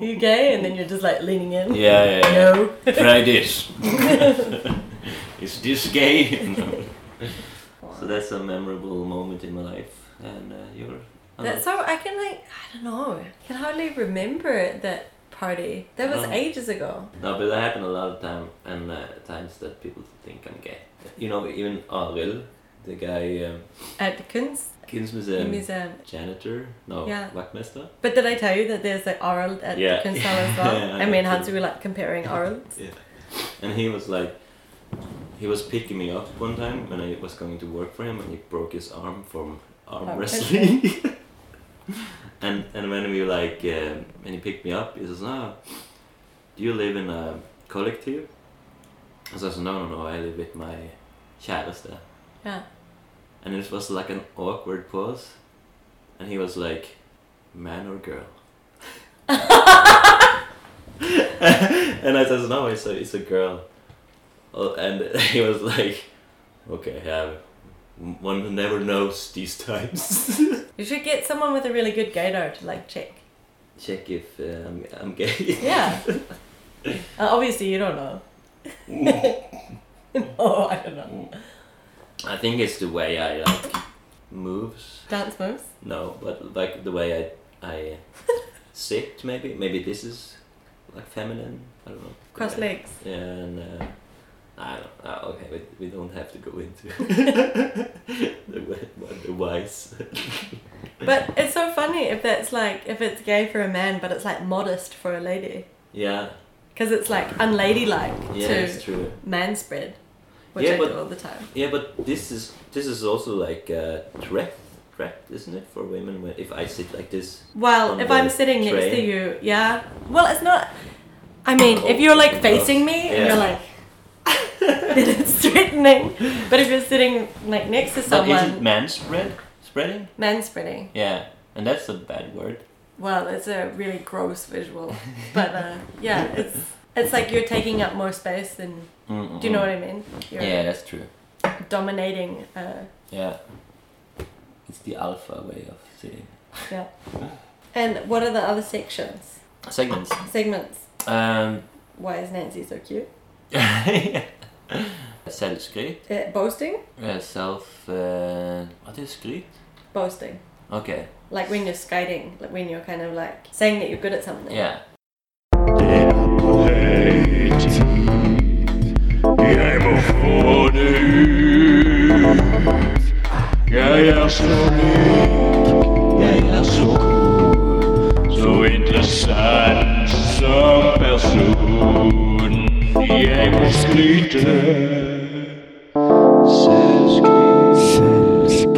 B: you gay, and then you're just like leaning in.
A: yeah, yeah, yeah.
B: No.
A: Try this. Is this gay? No. So that's a memorable moment in my life, and uh, you're. I'm
B: That's so I can like I don't know. I can hardly remember it, that party. That was
A: Oh.
B: ages ago.
A: No, but that happened a lot of time and uh, times that people think I'm gay. You know, even Aril, the guy, um,
B: At the Kunst
A: Kunstmuseum
B: Museum.
A: janitor, no,
B: Yeah.
A: wachtmeister.
B: But did I tell you that there's like oral at
A: Yeah.
B: the Kunst as well?
A: Yeah,
B: I mean,
A: yeah.
B: Hansi were like comparing orals.
A: And he was like, he was picking me up one time when I was going to work for him, and he broke his arm from arm
B: Arm
A: wrestling. and and when we like, um, when he picked me up, he says, "Ah, do you live in a collective?" I says, "No, no, no, I live with my käresta."
B: Yeah.
A: And it was like an awkward pause, and he was like, "Man or girl?" and I says, "No, it's a it's a girl." Oh, and he was like, "Okay, yeah, one never knows these times."
B: You should get someone with a really good gaydar to like check.
A: Check if uh, I'm I'm gay.
B: Yeah. uh, obviously, you don't know. no, I don't know.
A: I think it's the way I like moves.
B: Dance moves.
A: No, but like the way I I uh, sit maybe maybe this is like feminine. I don't know.
B: Cross
A: Yeah.
B: legs.
A: And uh, I don't. Uh, okay, we, we don't have to go into the, wi- the wise.
B: But it's so funny if that's like if it's gay for a man, but it's like modest for a lady,
A: Yeah,
B: because it's like unladylike
A: yeah, it's
B: to
A: true.
B: man spread, which
A: Yeah,
B: I
A: but-
B: do all the time.
A: Yeah, but this is this is also like a threat, threat, isn't it, for women? When, if I sit like this,
B: Well,
A: on
B: if
A: the
B: I'm sitting next to
A: train.
B: you, yeah. Well, it's not. I mean, if you're like facing me and you're
A: Yeah.
B: like, then it's threatening. But if you're sitting like next to
A: but is it
B: someone,
A: man spread spreading?
B: man spreading.
A: Yeah, and that's a bad word.
B: Well, it's a really gross visual, but uh, yeah, it's it's like you're taking up more space than.
A: Mm-mm.
B: Do you know what I mean? You're
A: Mm-hmm. Yeah, that's true.
B: dominating. Uh,
A: Yeah, it's the alpha way of sitting.
B: yeah. And what are the other sections?
A: Segments.
B: Segments.
A: Um.
B: Why is Nancy so cute?
A: Selvskryt.
B: Uh, boasting,
A: Uh, self... Uh, what is skryt?
B: boasting.
A: Okay,
B: Like when you're skating, like when you're kind of like saying that you're good at something.
A: yeah.
C: Jeg må få det ut. Jeg er så rik, jeg er så cool, så interessant som person. Jeg må skryte. Selvskryt. Selvskryt.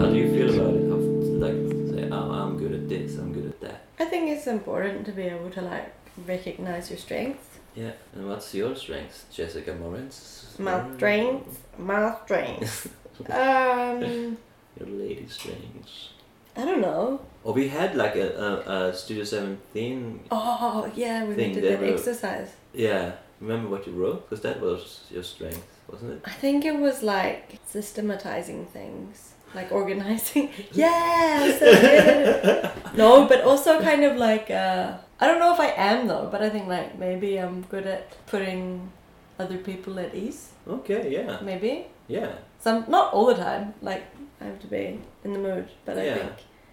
A: How do you feel about it? Of, like, say, oh, I'm good at this, I'm good at that.
B: I think it's important to be able to like recognize your strengths.
A: Yeah. And what's your strengths, Jessica Mm. Morens?
B: My strengths, my strengths. um,
A: Your lady strengths.
B: I don't know.
A: Or we had like a, a, a Studio 17.
B: Oh yeah, we
A: Thing
B: did
A: they
B: that
A: wrote.
B: exercise.
A: Yeah. Remember what you wrote? Because that was your strength, wasn't it?
B: I think it was like systematizing things, like organizing. yeah, so good. no, but also kind of like uh, I don't know if I am though, but I think like maybe I'm good at putting other people at ease.
A: Okay, yeah.
B: Maybe.
A: Yeah.
B: Some not all the time. Like I have to be in the mood, but I
A: Yeah.
B: think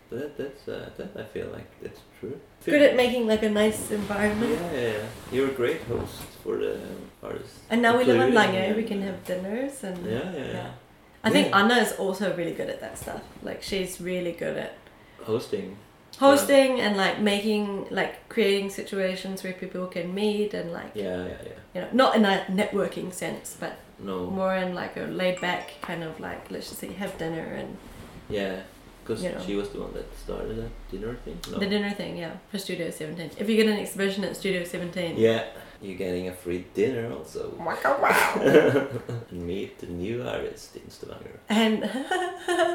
A: But that, that's uh, that I feel like that's true.
B: Good at making like a nice environment.
A: Yeah, yeah, yeah. You're a great host for the artists.
B: And now we live in
A: Including,
B: Lange,
A: uh,
B: we can have dinners and
A: Yeah, yeah, yeah.
B: I think
A: Yeah.
B: Anna is also really good at that stuff. Like she's really good at
A: Hosting.
B: hosting and like making like creating situations where people can meet and like
A: Yeah, yeah, yeah.
B: you know not in a networking sense but
A: No.
B: more in like a laid back kind of like let's just say have dinner and
A: Yeah, because
B: You know.
A: she was the one that started that dinner thing. No.
B: the dinner thing yeah for Studio 17 if you get an exhibition at Studio Oh 17
A: Yeah, you're getting a free dinner also.
B: Waka wow.
A: And Meet the new artist in Stavanger.
B: And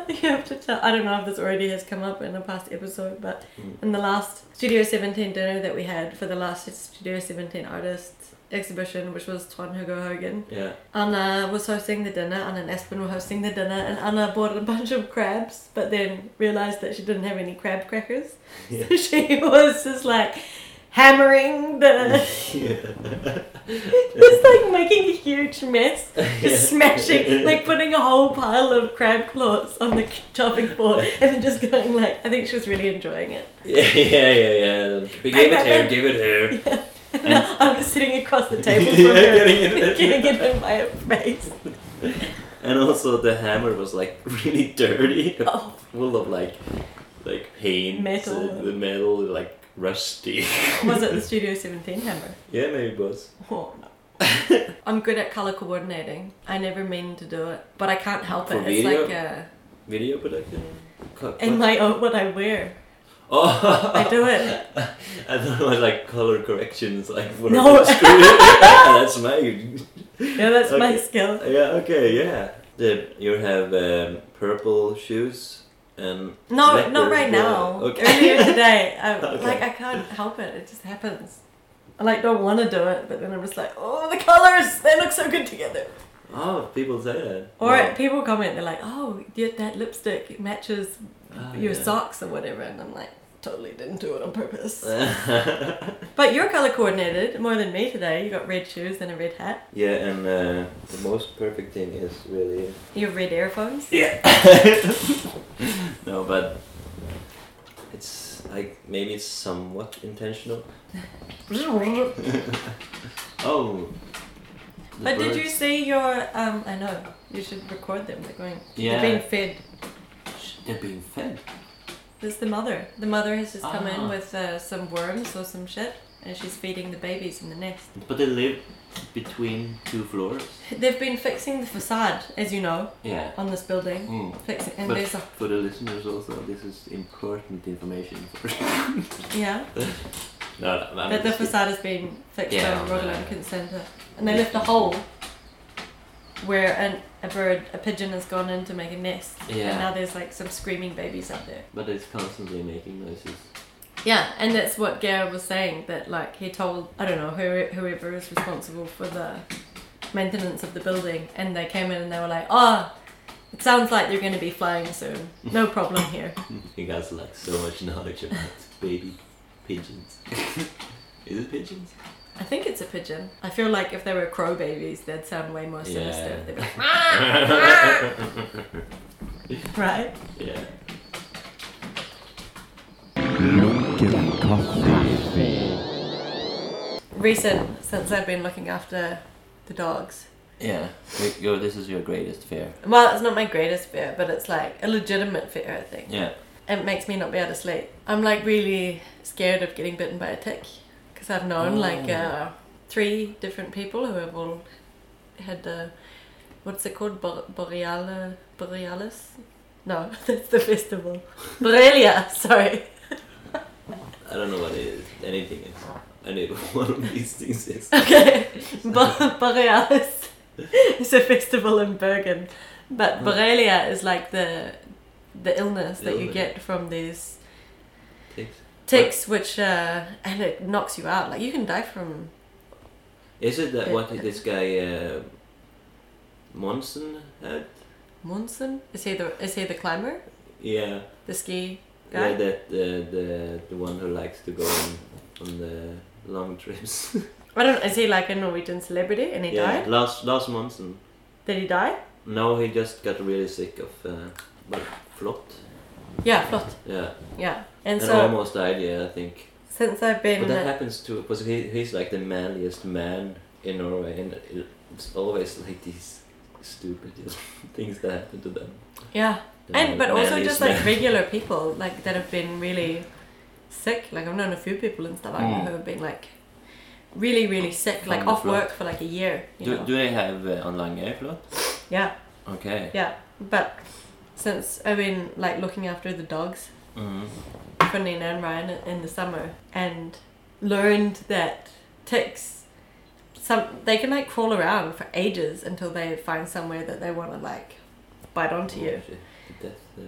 B: you have to tell. I don't know if this already has come up in a past episode, but
A: Mm.
B: in the last Studio 17 dinner that we had for the last Studio 17 artist exhibition, which was Twan Hugo Hogan,
A: Yeah,
B: Anna was hosting the dinner, Anna and Aspen were hosting the dinner, and Anna bought a bunch of crabs, but then realized that she didn't have any crab crackers.
A: Yeah.
B: So she was just like hammering the. Just like making a huge mess, just smashing, like putting a whole pile of crab claws on the chopping board, and then just going like, I think she was really enjoying it.
A: yeah, yeah, yeah, yeah. We gave it here, give it here.
B: And I'm just sitting across the table from
A: Yeah,
B: her,
A: getting it.
B: getting it in my face.
A: And also the hammer was like really dirty,
B: Oh.
A: full of like, like paint,
B: Metal.
A: uh, the metal like rusty.
B: Was it the Studio 17 hammer?
A: Yeah, maybe it was.
B: Oh no. I'm good at color coordinating. I never mean to do it, but I can't help
A: For
B: it.
A: video?
B: It's like uh,
A: Video production. Co- what?
B: in my own what I wear.
A: oh,
B: I do it.
A: I thought it was like color corrections, like for
B: No.
A: the screen. That's my
B: Yeah, that's my
A: Okay.
B: skill.
A: yeah. Okay, yeah. The, you have um, purple shoes and
B: No,
A: leopard
B: not right now.
A: wool. Okay.
B: Earlier today, I,
A: Okay.
B: like I can't help it. It just happens. I like don't want to do it, but then I'm just like, oh, the colors they look so good together.
A: oh, people say that.
B: Or
A: Wow.
B: people comment, they're like, oh, yeah, that lipstick matches
A: Ah,
B: your
A: yeah.
B: socks or whatever, and I'm like, totally didn't do it on purpose.
A: yeah,
B: But you're color coordinated more than me today. You got red shoes and a red hat.
A: and uh, the most perfect thing is really.
B: You have red earphones.
A: Yeah. no, but it's like maybe it's somewhat intentional.
B: but
A: Oh. the
B: did you
A: birds.
B: see your? Um, I know you should record them. They're going.
A: Yeah.
B: They're being fed.
A: They're being fed.
B: There's the mother. The mother has just come
A: Ah.
B: in with uh, some worms or some shit, and she's feeding the babies in the nest.
A: But they live between two floors.
B: They've been fixing the facade, as you know,
A: Yeah.
B: on this building.
A: Mm.
B: Fixing, and
A: But-
B: there's a
A: For the listeners also, this is important information. For
B: yeah.
A: no, no, no, I'm
B: That the
A: just kidding.
B: facade has been fixed
A: Yeah,
B: by
A: on
B: Royal
A: the-
B: Olympic Centre, and they left a hole where an, a bird, a pigeon, has gone in to make a nest,
A: Yeah.
B: and now there's like some screaming babies up there.
A: But it's constantly making noises.
B: Yeah, and that's what Gareth was saying that like he told I don't know who, whoever is responsible for the maintenance of the building, and they came in and they were like, oh. It sounds like they're going to be flying soon. No problem here.
A: You guys like so much knowledge about baby pigeons. is it pigeons?
B: I think it's a pigeon. I feel like if they were crow babies, they'd sound way more sinister.
A: Yeah.
B: They'd be like, Ah, right?
A: Yeah.
C: Lunken kaffe.
B: recent since I've been looking after the dogs.
A: Yeah. Wait, Your, this is your greatest fear.
B: Well, it's not my greatest fear, but it's like a legitimate fear, I think.
A: Yeah.
B: It makes me not be able to sleep. I'm like really scared of getting bitten by a tick because I've known like
A: Oh.
B: uh, three different people who have all had uh, what's it called? Bor- boreal- borealis? No, that's the festival. Borrelia, sorry.
A: I don't know what it is. Anything is. I need one of these things is.
B: Okay, Bo- Borealis is a festival in Bergen,
A: Hmm.
B: but Borrelia is like the the illness that you
A: Illness.
B: get from these
A: Ticks.
B: ticks, which uh, and it knocks you out. Like you can die from.
A: Is it that
B: Yeah.
A: what this guy uh, Monson had?
B: Monson is he the is he the climber,
A: Yeah.
B: the ski
A: Yeah,
B: guy?
A: that the the the one who likes to go on, on the long trips.
B: I don't. Is he like a Norwegian celebrity and he
A: yeah,
B: died?
A: Lars Lars Monson.
B: Did he die?
A: No, he just got really sick of uh, well, flot.
B: Yeah, flott.
A: Yeah.
B: Yeah. And
A: And
B: so
A: almost died, yeah, I think.
B: since I've been
A: But that happens to because he, he's like the manliest man in Norway, and it- it's always like these stupid things that happen to them.
B: yeah,
A: The
B: and
A: man-
B: but also
A: manliest
B: just like
A: man.
B: regular people like that have been really sick like i've known a few people in stavanger
A: Mm.
B: who have been like really really sick like
A: From the
B: off
A: flu.
B: work for like a year you
A: Do,
B: know?
A: do they have uh, online airflow?
B: yeah
A: Okay.
B: yeah but since i've been like looking after the dogs
A: Mhm.
B: for nina and ryan in the summer and learned that ticks some they can like crawl around for ages until they find somewhere that they want to like bite onto you
A: Oh, The death uh,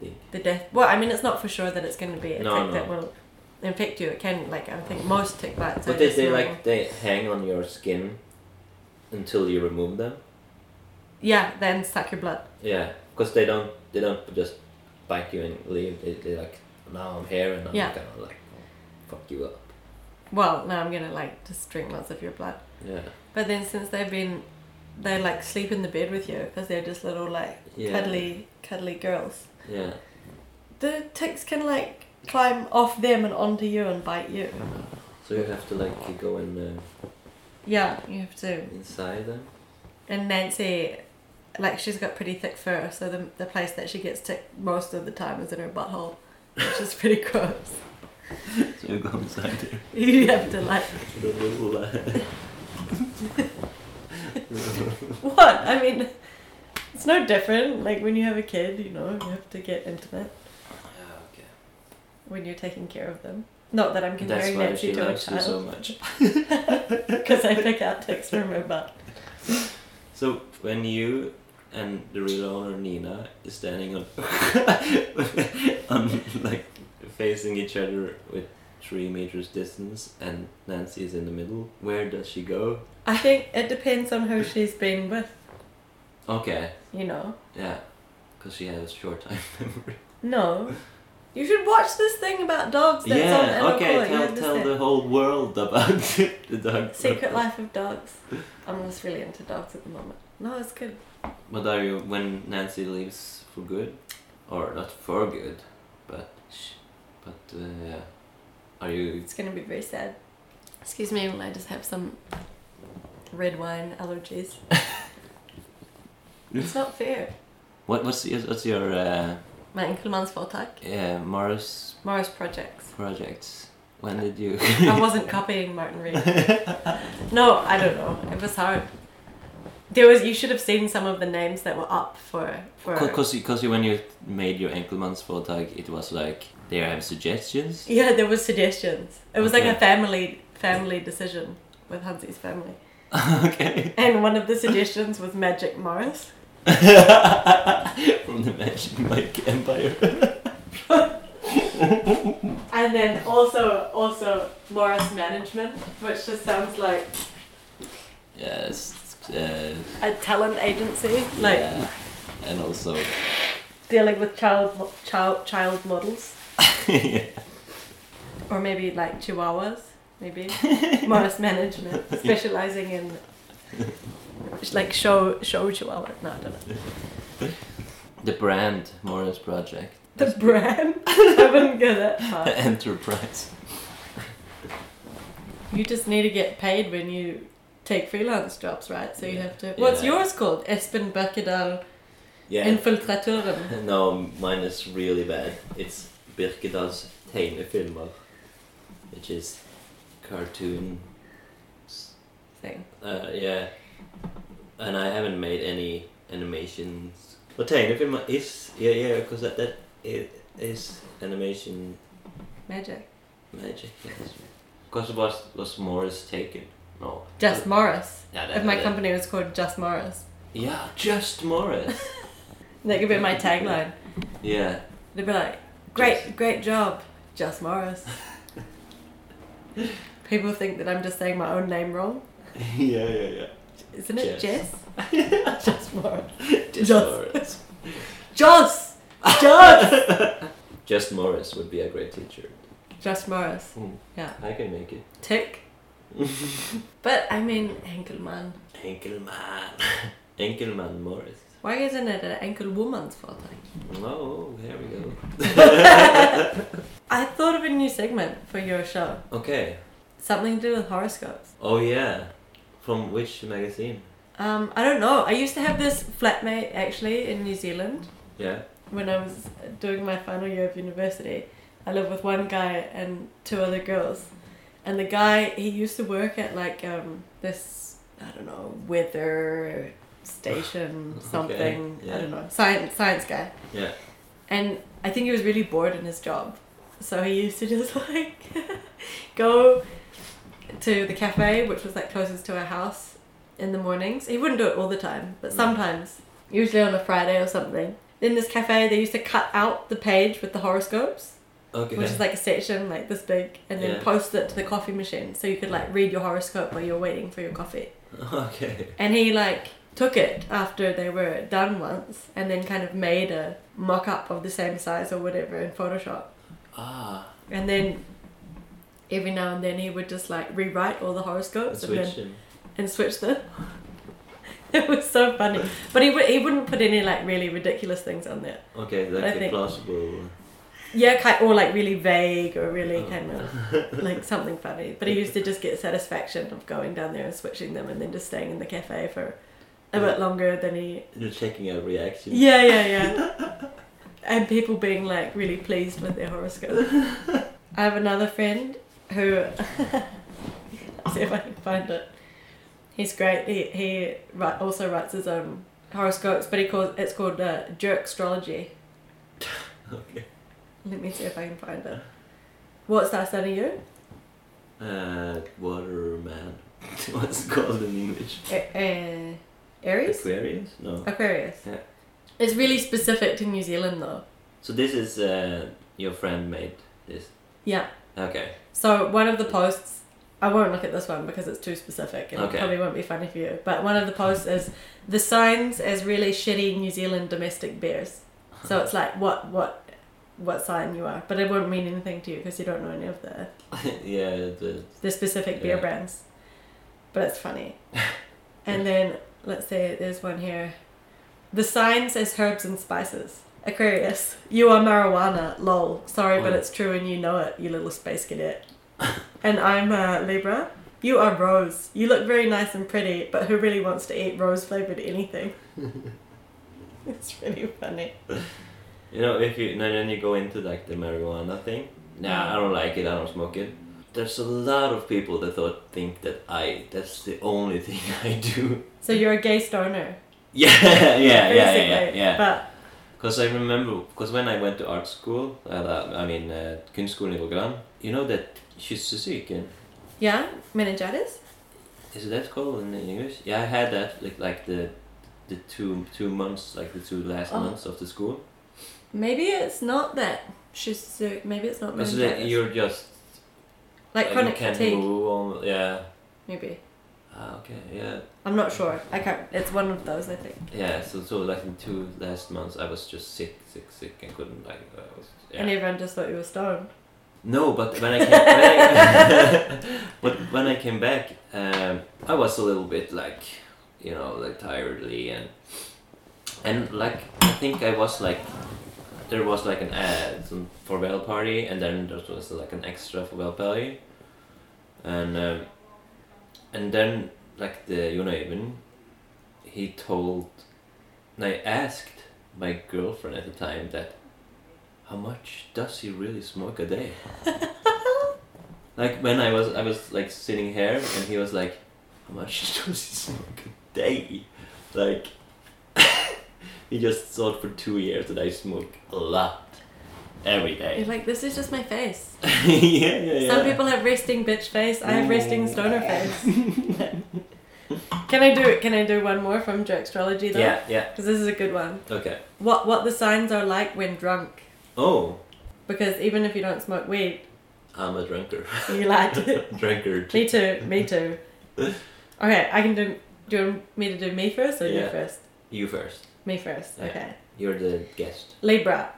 A: thing.
B: the death. Well, I mean, it's not for sure that it's going to be a
A: No,
B: tick
A: no. Mm.
B: that will infect you. It can, like, I think most tick bites. are
A: But they,
B: just
A: they
B: normal.
A: like they hang on your skin until you remove them.
B: Yeah, then suck your blood.
A: Yeah, because they don't they don't just bite you and leave. They they like now I'm here and I'm
B: Yeah.
A: gonna like fuck you up.
B: Well, now I'm gonna like just drink lots of your blood.
A: Yeah.
B: But then since they've been, they like sleep in the bed with you because they're just little like
A: Yeah.
B: cuddly, cuddly girls.
A: Yeah.
B: The ticks can like climb off them and onto you and bite you.
A: So you have to like go in uh,
B: Yeah, you have to.
A: inside them.
B: And Nancy, like, she's got pretty thick fur, so the the place that she gets tick most of the time is in her butthole, which is pretty gross.
A: So you go inside there.
B: You have to like
A: The little, uh,
B: what? I mean, it's no different. Like when you have a kid, you know, you have to get intimate
A: yeah, okay.
B: when you're taking care of them. Not that I'm
A: That's
B: comparing
A: why
B: Nancy
A: she
B: to a
A: loves you so
B: child
A: much.
B: because I pick out ticks from her butt.
A: So when you and the real owner Nina is standing on, on like facing each other with three meters distance, and Nancy is in the middle. Where does she go?
B: I think it depends on who she's been with.
A: Okay,
B: You know,
A: yeah, because she has short time memory.
B: no. You should watch this thing about dogs. That's on
A: yeah,
B: Animal Core.
A: okay.
B: You
A: Tell
B: have this
A: tell
B: thing.
A: the whole world about the dog.
B: Secret Life of Dogs. I'm just really into dogs at the moment. No, it's good.
A: What are you when Nancy leaves for good, or not for good, but sh- but uh, yeah, are you?
B: It's gonna be very sad. Excuse me, will I just have some red wine allergies? it's not fair.
A: What what's your- what's your uh,
B: My Inkelmans Voltak,
A: yeah Mars
B: Morris Projects.
A: projects? When did you?
B: I wasn't copying Martin Reed. No, I don't know. It was hard. There was you should have seen some of the names that were up for for
A: Because because when you made your Enkelmans Vortag, it was like there I have suggestions.
B: Yeah, there was suggestions. It was like
A: Okay.
B: a family family decision with Hansi's family.
A: okay.
B: And one of the suggestions was Magic Morris.
A: From the Magic Mike Empire.
B: And then also also Morris Management, which just sounds like
A: Yes. Uh,
B: a talent agency, like
A: yeah. And also.
B: dealing with child mo- child child models,
A: yeah.
B: or maybe like Chihuahuas, maybe Morris Management, specializing in like show show Chihuahua. No, I don't know
A: The brand Morris Project.
B: the brand. I wouldn't go that
A: The
B: far.
A: enterprise.
B: You just need to get paid when you take freelance jobs, right? So you
A: Yeah.
B: have to. What's
A: Yeah.
B: yours called? Espen Birkedal
A: Yeah.
B: Infiltraturen.
A: No, mine is really bad. It's Birkedals tegnefilmer, which is cartoon.
B: thing.
A: Uh, yeah, and I haven't made any animations. But tegnefilmer is yeah yeah because that that i- is animation
B: Magic.
A: magic. Because it was was Morris taken. No.
B: Just Morris.
A: Yeah, that-
B: If my
A: that-
B: company was called Just Morris,
A: Yeah, just Morris.
B: that could be my tagline.
A: yeah.
B: They'd be like, "Great, great job, Just Morris." People think that I'm just saying my own name wrong,
A: yeah yeah yeah.
B: isn't it?
A: Jess.
B: Jess. Just Morris.
A: Just
B: Just-
A: Morris.
B: Joss. Joss.
A: Just Morris would be a great teacher.
B: Just Morris.
A: Hmm.
B: Yeah.
A: I can make it.
B: Tick. but I mean Henkelmann.
A: Enkelman. Enkelman Morris.
B: Why isn't it an ankle woman's fault?
A: Oh, here we go.
B: I thought of a new segment for your show.
A: Okay.
B: Something to do with horoscopes.
A: Oh yeah. From which magazine?
B: Um, I don't know. I used to have this flatmate actually in New Zealand
A: Yeah.
B: when I was doing my final year of university. I lived with one guy and two other girls. And the guy, he used to work at like um, this, I don't know, weather station,
A: Okay,
B: something.
A: yeah.
B: I don't know. Science, science guy.
A: Yeah.
B: And I think he was really bored in his job. So he used to just like go to the cafe, which was like closest to our house, in the mornings. He wouldn't do it all the time, but
A: Mm.
B: sometimes, usually on a Friday or something. In this cafe, they used to cut out the page with the horoscopes,
A: Okay.
B: which is like a section like this big, and then
A: Yeah.
B: post it to the coffee machine so you could like read your horoscope while you're waiting for your coffee.
A: okay.
B: And he like took it after they were done once and then kind of made a mock up of the same size or whatever in Photoshop.
A: Ah,
B: And then every now and then he would just like rewrite all the horoscopes and then
A: switching.
B: and switch them. it was so funny. But he, would he wouldn't put any like really ridiculous things on there.
A: Okay, like
B: I
A: a
B: think-
A: plausible.
B: Yeah, kind, or like really vague or really
A: Oh.
B: kind of like something funny. But he used to just get satisfaction of going down there and switching them and then just staying in the cafe for a bit longer than he
A: You're checking out reaction.
B: Yeah, yeah, yeah. and people being like really pleased with their horoscope. I have another friend who let's see if I can find it. He's great. He he write, also writes his own horoscopes, but he calls it's called uh, jerk astrology.
A: Okay.
B: Let me see if I can find it. What's that study you?
A: Uh, waterman. What's it called in English?
B: A- uh, Aries,
A: Aquarius? No.
B: Aquarius.
A: Yeah.
B: It's really specific to New Zealand though.
A: So this is uh, your friend made this.
B: Yeah.
A: Okay.
B: So one of the posts, I won't look at this one because it's too specific and
A: Okay.
B: it probably won't be funny for you. But one of the posts is the signs as really shitty New Zealand domestic bears. So it's like what what what sign you are, but it won't mean anything to you because you don't know any of the
A: yeah. The,
B: the specific beer
A: Yeah.
B: brands. But it's funny. and then let's say there's one here. The signs as herbs and spices. Aquarius, you are marijuana. Lol. Sorry, but
A: Oh.
B: it's true and you know it, you little space cadet. and I'm uh, Libra. You are rose. You look very nice and pretty, but who really wants to eat rose flavored anything? it's really funny.
A: you know, if you and then you go into like the marijuana thing. Nah, I don't like it. I don't smoke it. There's a lot of people that thought think that I. That's the only thing I do.
B: So you're a gay stoner.
A: Yeah, yeah, yeah, yeah, yeah,
B: basically,
A: yeah.
B: But
A: Because I remember, because when I went to art school, uh, uh, I mean, uh, kunstskolan i Rogaland, you know that kyssesyken,
B: yeah, meningitis?
A: is that called in English? Yeah, I had that, like, like the the two two months, like the two last
B: Oh.
A: months of the school.
B: Maybe it's not that she's maybe it's not
A: So that
B: meningitis.
A: you're just,
B: like
A: uh,
B: chronic
A: you can't
B: fatigue.
A: move on, yeah.
B: Maybe
A: Ah, okay, yeah.
B: I'm not sure. I can't. It's one of those. I think.
A: Yeah, so, so like in two last months, I was just sick, sick, sick, and couldn't, like, I was, yeah.
B: And everyone just thought you were stoned.
A: No, but when I came, when I, but when I came back, um, I was a little bit like, you know, like tiredly and and like I think I was like there was like an ad some farewell party and then there was like an extra farewell party, and um, and then like the Jonathan, he told, and I asked my girlfriend at the time that, how much does he really smoke a day? Like when I was I was like sitting here and he was like, How much does he smoke a day? Like he just thought for two years that I smoke a lot. Every
B: You're
A: day.
B: like, this is just my face.
A: yeah, yeah, yeah.
B: Some people have resting bitch face. I have resting
A: Mm.
B: stoner face. can I do? Can I do one more from Jerkstrology though?
A: Yeah, yeah.
B: Because this is a good one.
A: Okay.
B: What What the signs are like when drunk?
A: Oh,
B: Because even if you don't smoke weed,
A: I'm a drunker.
B: you like it.
A: drunkard.
B: Me too. Me too. Okay, I can do. Do you want me to do me first or you
A: Yeah.
B: first?
A: You first.
B: Me first.
A: Yeah.
B: Okay.
A: You're the guest.
B: Libra.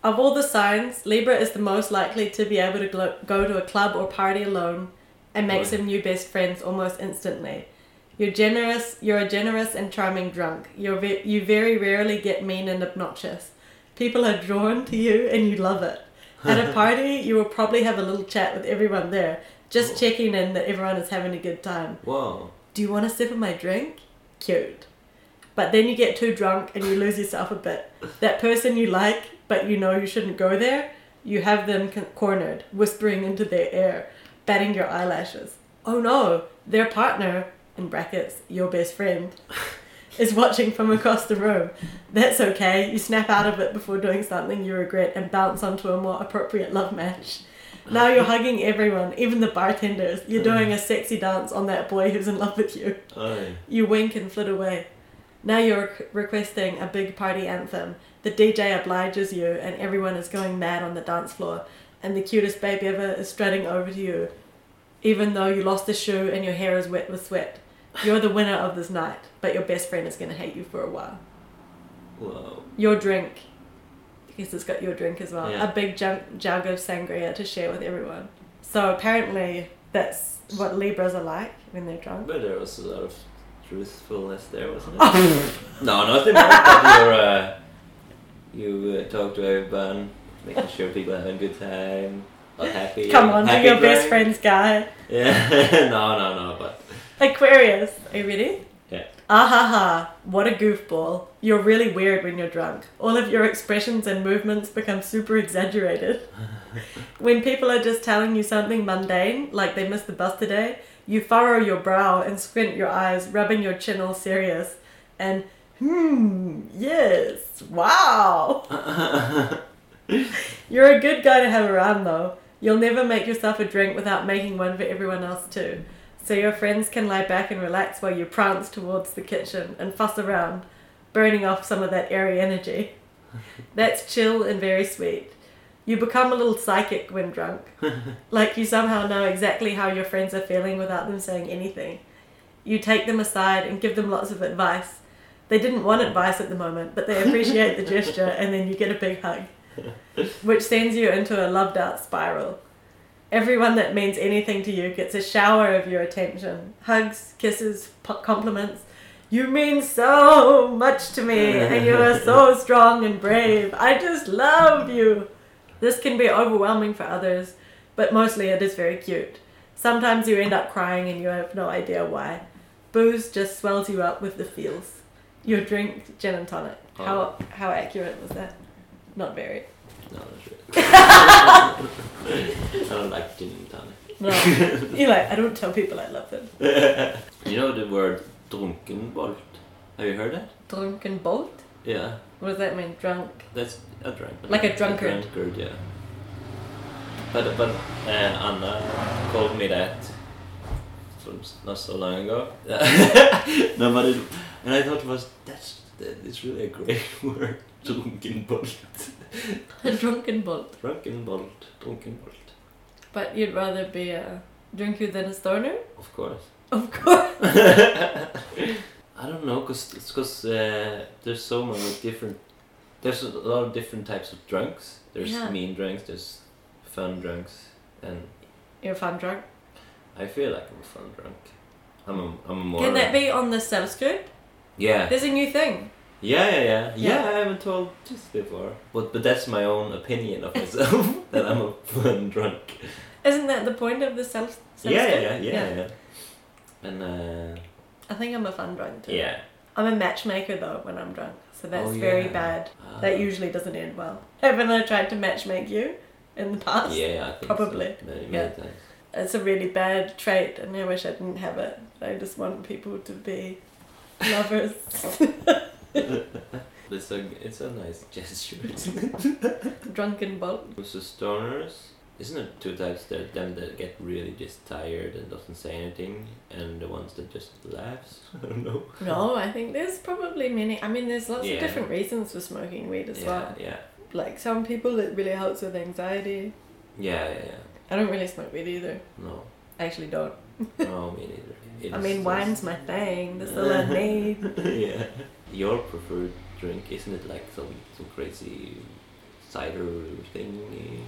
B: Of all the signs, Libra is the most likely to be able to glo- go to a club or party alone and make
A: Right.
B: some new best friends almost instantly. You're generous. You're a generous and charming drunk. You're ve- you very rarely get mean and obnoxious. People are drawn to you, and you love it. At a party, you will probably have a little chat with everyone there, just checking in that everyone is having a good time.
A: Whoa.
B: Do you want a sip of my drink? Cute. But then you get too drunk and you lose yourself a bit. That person you like, but you know you shouldn't go there, you have them con- cornered, whispering into their ear, batting your eyelashes. Oh no, their partner, in brackets, your best friend, is watching from across the room. That's okay, you snap out of it before doing something you regret and bounce onto a more appropriate love match. Now you're hugging everyone, even the bartenders. You're doing a sexy dance on that boy who's in love with you.
A: Aye.
B: You wink and flit away. Now you're rec- requesting a big party anthem. The DJ obliges you, and everyone is going mad on the dance floor. And the cutest babe ever is strutting over to you, even though you lost a shoe and your hair is wet with sweat. You're the winner of this night, but your best friend is going to hate you for a while.
A: Whoa.
B: Your drink, because it's got your drink as well,
A: Yeah.
B: a big jug, jug of sangria to share with everyone. So apparently, that's what Libras are like when they're drunk.
A: But there was a lot of truthfulness there, wasn't it? no, nothing like that. You're, uh, you uh, talk to everyone, making sure people are having a good time, are happy.
B: Come on, to
A: happy
B: your
A: drunk.
B: best friend's guy.
A: Yeah, no, no, no, but
B: Aquarius, are you ready?
A: Yeah.
B: Ah ha ha, what a goofball. You're really weird when you're drunk. All of your expressions and movements become super exaggerated. when people are just telling you something mundane, like they missed the bus today, you furrow your brow and squint your eyes, rubbing your chin all serious. And, hmm, yes, wow. You're a good guy to have around though. You'll never make yourself a drink without making one for everyone else too. So your friends can lie back and relax while you prance towards the kitchen and fuss around, burning off some of that airy energy. That's chill and very sweet. You become a little psychic when drunk. like you somehow know exactly how your friends are feeling without them saying anything. You take them aside and give them lots of advice. They didn't want advice at the moment, but they appreciate the gesture and then you get a big hug which sends you into a loved out spiral. Everyone that means anything to you gets a shower of your attention hugs, kisses, p- compliments. You mean so much to me, and you are so strong and brave. I just love you. This can be overwhelming for others, but mostly it is very cute. Sometimes you end up crying and you have no idea why. Booze just swells you up with the feels. Your drink, gin and tonic. How, how accurate was that? Not very.
A: no, that's right. I don't like gin and tonic.
B: No. You're like, I don't tell people I love them.
A: You know the word drunkenbolt? Have you heard that?
B: Drunken bolt?
A: Yeah,
B: What does that mean? Drunk?
A: that's a drunk.
B: Like a drunkard.
A: drunkard, yeah. But but uh, Anna called me that from s- not so long ago. no, but it, and I thought it was that's that is really a great word. Drunkenbolt,
B: A drunken bolt.
A: drunkenbolt, drunkenbolt.
B: But you'd rather be a drinker than a stoner?
A: Of course.
B: Of course.
A: I don't know, cause it's 'cause, uh, there's so many different. There's a lot of different types of drunks. There's
B: Yeah.
A: mean drunks. There's fun drunks, and
B: You're a fun drunk.
A: I feel like I'm a fun drunk. I'm a, I'm a more.
B: Can that be on the subscript?
A: Yeah.
B: There's a new thing.
A: Yeah, yeah, yeah, yeah.
B: Yeah.
A: I haven't told this before, but but that's my own opinion of myself that I'm a fun drunk.
B: Isn't that the point of the self
A: Yeah,
B: subscript?
A: yeah, yeah, yeah, yeah. And uh,
B: I think I'm a fun drunk too.
A: yeah.
B: I'm a matchmaker though when I'm drunk, so that's
A: Oh,
B: very
A: yeah.
B: bad.
A: Ah.
B: That usually doesn't end well. Haven't I tried to matchmake you in the past?
A: Ah, Yeah, I think
B: Probably.
A: So. Many, many
B: Yeah.
A: times.
B: it's a really bad trait and I wish I didn't have it. I just want people to be lovers.
A: It's a it's a nice gesture.
B: Drunken bolt.
A: With the stoners, isn't it two types? There them that get really just tired and doesn't say anything, and the ones that just laughs. I don't know.
B: No, I think there's probably many. I mean, there's lots
A: Yeah.
B: of different reasons for smoking weed as
A: yeah,
B: well.
A: yeah,
B: Like some people, it really helps with anxiety.
A: yeah, yeah, yeah.
B: I don't really smoke weed either.
A: No,
B: I actually don't.
A: no, me neither. It
B: I
A: is
B: mean,
A: just-
B: wine's my thing. That's all I need.
A: yeah. Your preferred drink isn't it like some some crazy cider thingy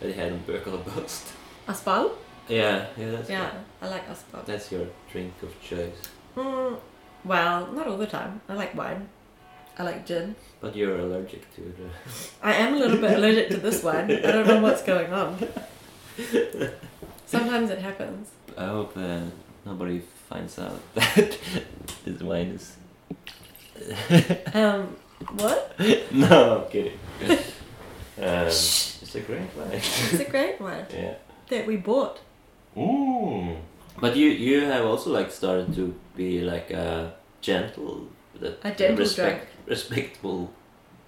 A: that they had in Burkle Bust?
B: Aspal?
A: Yeah, yeah, that's
B: Yeah, I like aspal.
A: That's your drink of choice.
B: Mm, well, not all the time. I like wine. I like gin.
A: But you're allergic to it. uh,
B: I am a little bit allergic to this wine. I don't know what's going on. Sometimes it happens.
A: I hope uh, nobody finds out that this wine is.
B: Um, what?
A: no, I'm kidding. um, it's a great wine.
B: It's a great wine
A: yeah.
B: that we bought.
A: Ooh. But you you have also like started to be like a gentle, that
B: A gentle
A: respectable,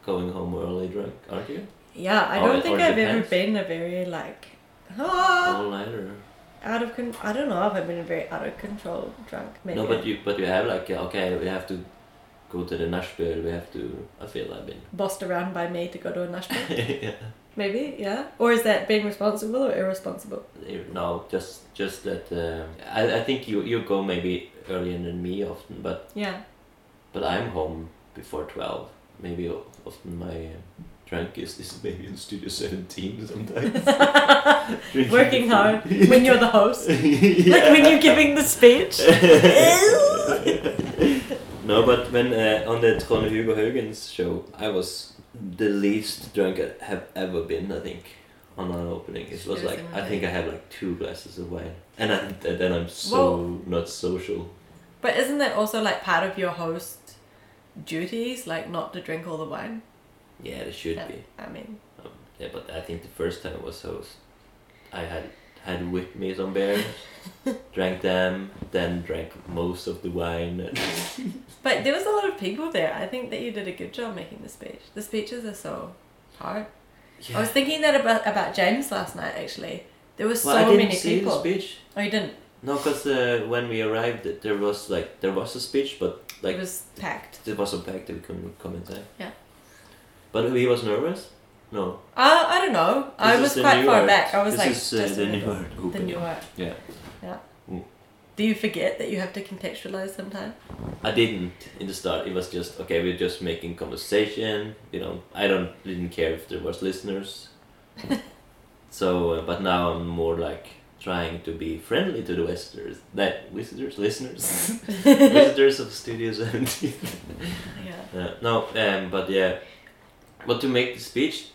A: going home early drunk, aren't you?
B: Yeah, I
A: Or-
B: don't
A: or
B: think I've ever
A: depends.
B: been a very like. Ah,
A: All nighter.
B: out of con- I don't know if I've been a very out of control drunk. Maybe.
A: No, but you but you have like yeah, okay, we have to go to the Nashville. We have to. I feel I've been.
B: bossed around by me to go to a Nashville.
A: yeah.
B: Maybe, yeah. Or is that being responsible or irresponsible?
A: No, just just that. Uh, I I think you you go maybe earlier than me often, but
B: Yeah.
A: but I'm home before twelve. Maybe o- often my uh, drunkest is maybe in Studio Seventeen sometimes. Drinking
B: Working
A: before-
B: hard when you're the host. Like
A: Yeah.
B: when you're giving the speech.
A: no, but when uh, on the Trond Hugo Haugen's show, I was the least drunk I have ever been. I think on an opening, it was
B: Sure,
A: like I
B: similar.
A: think I had like two glasses of wine, and, I, and then I'm so not social.
B: But isn't that also like part of your host duties, like not to drink all the wine?
A: Yeah, it should
B: Yeah,
A: be.
B: I mean,
A: Um, yeah, but I think the first time I was host, I had had with me some beers, drank them, then drank most of the wine.
B: but there was a lot of people there. I think that you did a good job making the speech. The speeches are so hard. I
A: Yeah.
B: was thinking that about about James last night. Actually, there were
A: well,
B: so
A: I didn't
B: many
A: see
B: people.
A: the speech.
B: oh, you didn't.
A: No, because uh, when we arrived, th- there was like there was a speech, but like
B: it was packed.
A: there was a pack that we couldn't come inside.
B: Yeah.
A: But he was nervous. No,
B: Uh, I don't know. I
A: This
B: was
A: is the
B: quite
A: new
B: far
A: art.
B: back. I was
A: This
B: like,
A: is, uh,
B: just
A: the
B: in
A: new
B: middle.
A: art
B: The
A: opening.
B: new art.
A: Yeah.
B: Yeah.
A: Mm.
B: Do you forget that you have to contextualize sometimes?
A: I didn't in the start. It was just okay. We're just making conversation. You know, I don't didn't care if there was listeners. so, uh, but now I'm more like trying to be friendly to the visitors. That visitors, listeners, visitors of Studio Seventeen.
B: Yeah.
A: Uh, no, um, but yeah, but to make the speech,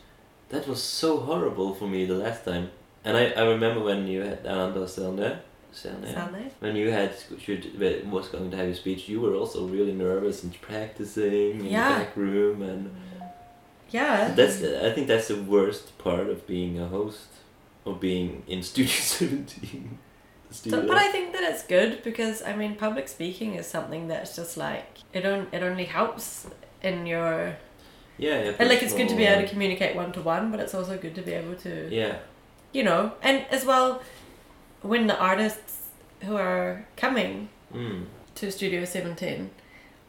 A: that was so horrible for me the last time. And I, I remember when you had Ananda Selne, Selne,
B: Sound nice?
A: when you had should when- was going to have your speech, you were also really nervous and practicing in
B: Yeah.
A: the back room, and
B: Yeah.
A: that's the- I think that's the worst part of being a host, of being in Studio Seventeen.
B: So-
A: Studio.
B: but I think that it's good because I mean, public speaking is something that's just like it. On, it only helps in your
A: yeah, yeah,
B: and like it's good to be
A: personal-
B: able to communicate one to one, but it's also good to be able to
A: Yeah,
B: you know, and as well when the artists who are coming
A: mm.
B: to Studio 17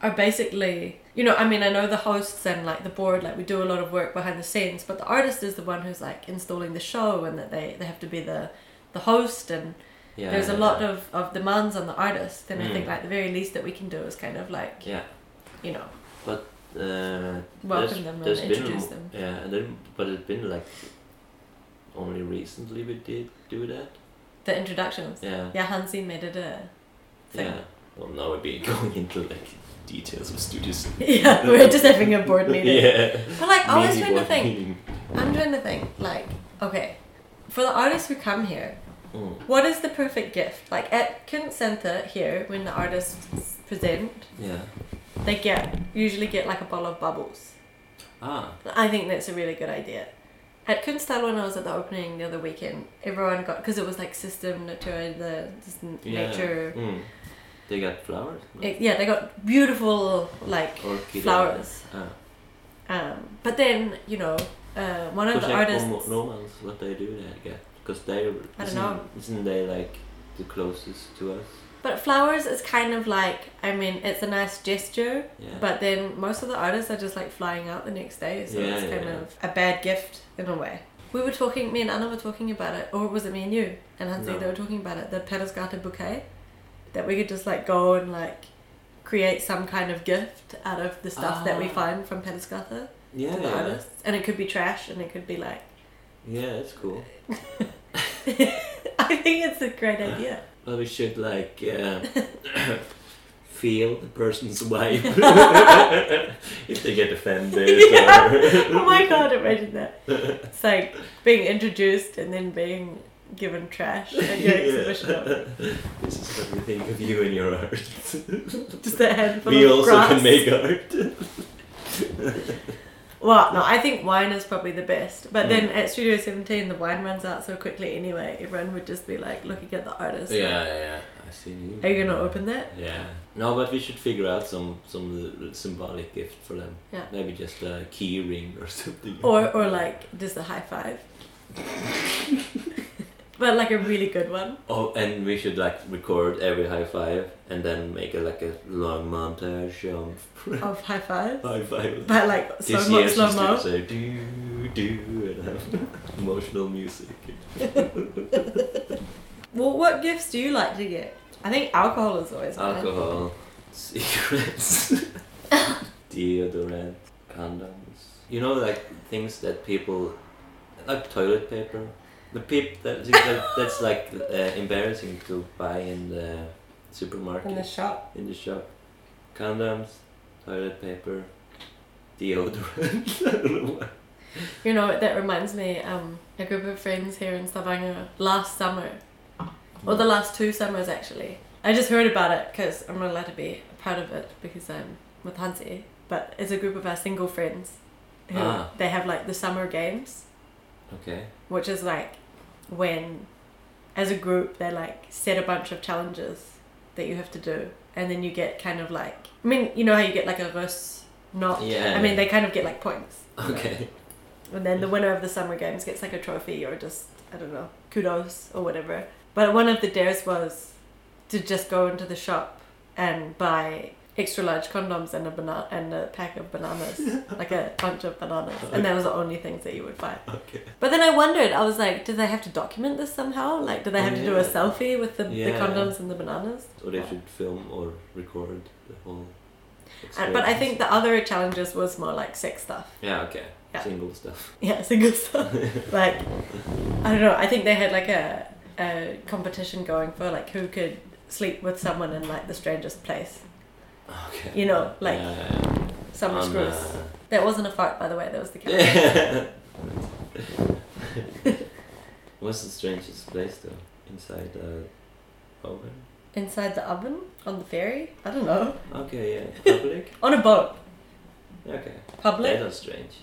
B: are basically, you know, I mean, I know the hosts and like the board, like we do a lot of work behind the scenes, but the artist is the one who's like installing the show and that they, they have to be the, the host and
A: yeah.
B: there's a
A: yeah,
B: lot
A: yeah.
B: of, of demands on the artist. And I think
A: Mm.
B: like the very least that we can do is kind of like,
A: yeah.
B: you know,
A: Uh,
B: welcome them
A: there's
B: and
A: been
B: introduce
A: mo-
B: them.
A: Yeah, and then but it's been like only recently we did do that.
B: The introductions.
A: Yeah.
B: Yeah, Hansi made it a thing.
A: Yeah. Well, now we're being going into like details of studios.
B: Yeah, we're just having a board meeting.
A: yeah.
B: But like, I was
A: Mini
B: trying to
A: board
B: think.
A: meeting.
B: I'm trying to think. Like, okay, for the artists who come here,
A: Mm,
B: what is the perfect gift? Like at Kint Center here, when the artists present,
A: yeah.
B: they get usually get like a bottle of bubbles.
A: Ah.
B: I think that's a really good idea. At Kunsthal when I was at the opening the other weekend, everyone got because it was like system nature, the this n-
A: Yeah.
B: nature.
A: Mm. They got flowers. No?
B: it- yeah, they got beautiful like
A: Orchid.
B: flowers.
A: Ah.
B: Um, but then you know, uh, one of
A: Because
B: the
A: like
B: artists.
A: Romo- Romans, what they do that get? Because they
B: I don't
A: isn't,
B: know.
A: isn't they like the closest to us?
B: But flowers is kind of like, I mean, it's a nice gesture,
A: Yeah.
B: but then most of the artists are just like flying out the next day, so
A: Yeah,
B: it's
A: yeah,
B: kind
A: yeah.
B: of a bad gift in a way. We were talking, me and Anna were talking about it, or was it me and you? And Hansi,
A: No.
B: they were talking about it, the Pedasgata bouquet, that we could just like go and like create some kind of gift out of the stuff that we
A: Ah.
B: find from Pedasgata
A: yeah.
B: to the
A: Yeah.
B: artists. And it could be trash, and it could be like,
A: yeah, that's cool.
B: I think it's a great idea.
A: Well, we should like uh, feel the person's vibe if they get offended.
B: Yeah.
A: Or
B: Oh my god, imagine that. It's like being introduced and then being given trash at your exhibition. opening.
A: This is what we think of you and your art.
B: Just a handful
A: we
B: of
A: also
B: grass.
A: can make art.
B: Well, no, I think wine is probably the best.
A: Mm.
B: But then at Studio 17, the wine runs out so quickly anyway. Everyone would just be like looking at the artist. like,
A: yeah. I see you.
B: Are you going to open that?
A: Yeah. No, but we should figure out some some symbolic gift for them.
B: Yeah.
A: Maybe just a key ring or something.
B: Or, or like just a high five. but like a really good one.
A: Oh, and we should like record every high five and then make a, like a long montage of
B: Of high fives.
A: high five.
B: Oh. But like slow mo,
A: it's
B: slow
A: just
B: mo.
A: gonna say do do and have emotional music.
B: Well, what gifts do you like to get? I think alcohol is always good.
A: Alcohol, cigarettes, deodorant, condoms. You know, like things that people like toilet paper. The peep that, that that's like uh, embarrassing to buy in the supermarket.
B: In the shop.
A: in the shop. Condoms, toilet paper, deodorant.
B: You know, what, that reminds me, um, a group of friends here in Stavanger last summer, or the
A: Mm.
B: last two summers actually. I just heard about it because I'm not allowed to be a part of it because I'm with Hansi. But it's a group of our single friends who
A: Ah.
B: they have like the summer games,
A: Okay.
B: which is like when, as a group, they like set a bunch of challenges that you have to do, and then you get kind of like I mean, you know how you get like a rus not.
A: Yeah.
B: I mean, they kind of get like points.
A: Okay.
B: And then the winner of the summer games gets like a trophy or just I don't know kudos or whatever. But one of the dares was to just go into the shop and buy extra large condoms and a banana and a pack of bananas, like a bunch of bananas, and that was the only things that you would buy.
A: Okay.
B: But then I wondered, I was like, do they have to document this somehow? Like, do they have to do a
A: Yeah.
B: selfie with the,
A: Yeah.
B: the condoms and the bananas?
A: Or they should film or record the whole.
B: And, Uh, but I think
A: experience.
B: the other challenges was more like sex stuff.
A: Yeah. Okay.
B: Yeah.
A: Single stuff.
B: Yeah, single stuff. like, I don't know. I think they had like a, a competition going for like who could sleep with someone in like the strangest place.
A: Okay.
B: You know, like
A: Yeah, yeah,
B: summer
A: On,
B: screws.
A: uh,
B: That wasn't a fart, by the way. That was the cat.
A: yeah. What's the strangest place though? Inside the oven.
B: Inside the oven on the ferry. I don't know.
A: Okay. Yeah. Public.
B: On a boat.
A: Okay.
B: Public.
A: That was strange.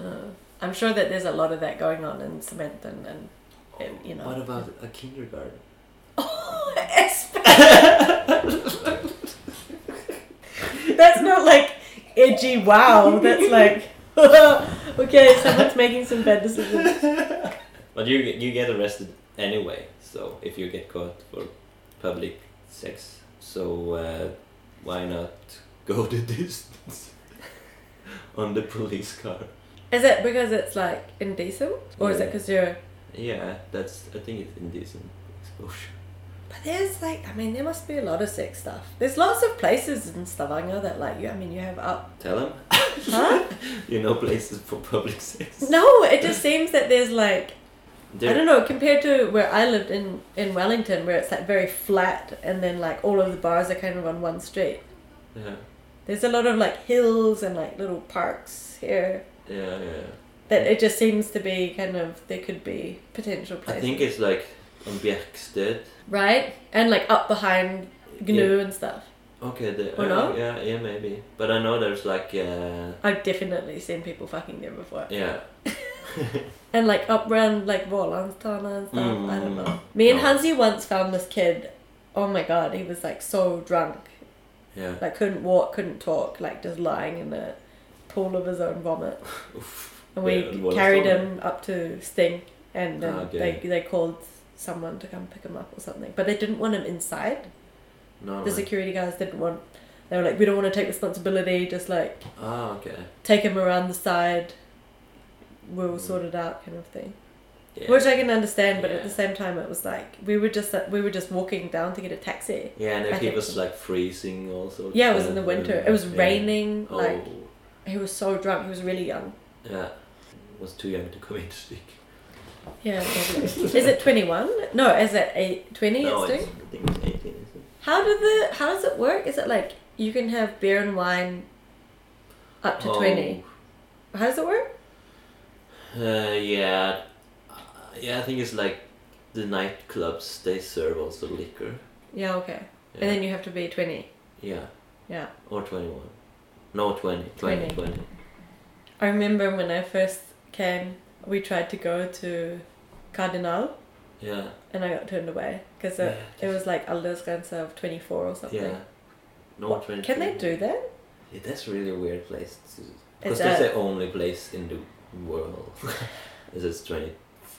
B: Uh, I'm sure that there's a lot of that going on in Samanthan and, and Um, you know.
A: What about a kindergarten?
B: Oh, That's not like edgy wow. That's like okay, someone's making some bad decisions.
A: But you you get arrested anyway. So if you get caught for public sex, so uh, why not go the distance on the police car?
B: Is it because it's like indecent, or is it because you're?
A: Yeah, that's I think it's indecent exposure.
B: But there's like, I mean, there must be a lot of sex stuff. There's lots of places in Stavanger that like you. I mean, you have up.
A: Tell them
B: Huh?
A: you know places for public sex.
B: no, it just seems that there's like I
A: There-
B: don't know, compared to where I lived in, in Wellington, where it's like very flat and then like all of the bars are kind of on one street.
A: Yeah,
B: There's a lot of like hills and like little parks here
A: yeah, yeah.
B: that it just seems to be kind of there could be potential
A: I
B: places.
A: think it's like on Bjerksted.
B: right? And like up behind GNU and stuff.
A: Okay, the,
B: Or no?
A: yeah, yeah, maybe. But I know there's like uh,
B: I've definitely seen people fucking there before.
A: yeah.
B: And like up around like Rålandstana and stuff. I don't know.
A: Mm.
B: Me and
A: No.
B: Hansi once found this kid. Oh my god, he was like so drunk.
A: Yeah.
B: like couldn't walk, couldn't talk, like just lying in a pool of his own vomit. And we
A: Yeah, and what is
B: carried
A: that?
B: him up to Sting, and then
A: Ah, okay.
B: they they called someone to come pick him up or something. But they didn't want him inside.
A: No,
B: The
A: no.
B: security guys didn't want. They were like, we don't want to take responsibility. Just like
A: Ah, okay.
B: take him around the side. We'll
A: Mm.
B: sort it out, kind of thing.
A: Yeah.
B: Which I can understand, but at
A: Yeah.
B: the same time, it was like we were just we were just walking down to get a taxi.
A: yeah, and
B: I
A: if he
B: think
A: was
B: so.
A: like freezing also.
B: Yeah, it was
A: uh,
B: in the winter.
A: uh,
B: It was
A: yeah.
B: raining.
A: Oh,
B: Like he was so drunk. He was really young.
A: yeah. Was too young to come in to speak.
B: Yeah, probably. is it 21? No, is it eight, 20
A: no,
B: it's
A: it's,
B: doing?
A: I think it's 18. Isn't it?
B: How do the how does it work? Is it like you can have beer and wine up to
A: Oh,
B: twenty? How does it work?
A: Uh, yeah, Uh, yeah. I think it's like the nightclubs. They serve also liquor.
B: Yeah, okay.
A: Yeah.
B: And then you have to be twenty.
A: yeah,
B: Yeah.
A: or twenty one. No, 20, 20,
B: 20.
A: 20.
B: I remember when I first came, we tried to go to Cardinal
A: Yeah,
B: and I got turned away because it,
A: Yeah.
B: it was like aldersgrenze of 24 or something.
A: yeah. No,
B: What-
A: 20.
B: Can they do that?
A: Yeah, that's really a weird place to. Because
B: It's
A: that's
B: a-
A: the only place in the world. it says twenty.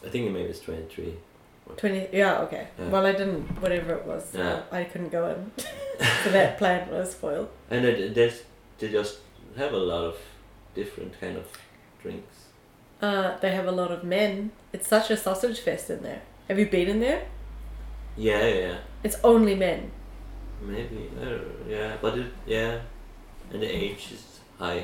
A: I think maybe it's twenty three.
B: 20 yeah okay
A: Yeah.
B: well i didn't whatever it was uh,
A: Yeah.
B: i couldn't go in so that plan was spoiled
A: And it, there's they just have a lot of different kind of drinks.
B: uh, they have a lot of men it's such a sausage fest in there have you been in there
A: Yeah, yeah, yeah.
B: it's only men
A: maybe. I don't know. Yeah, but it yeah, and the age is high.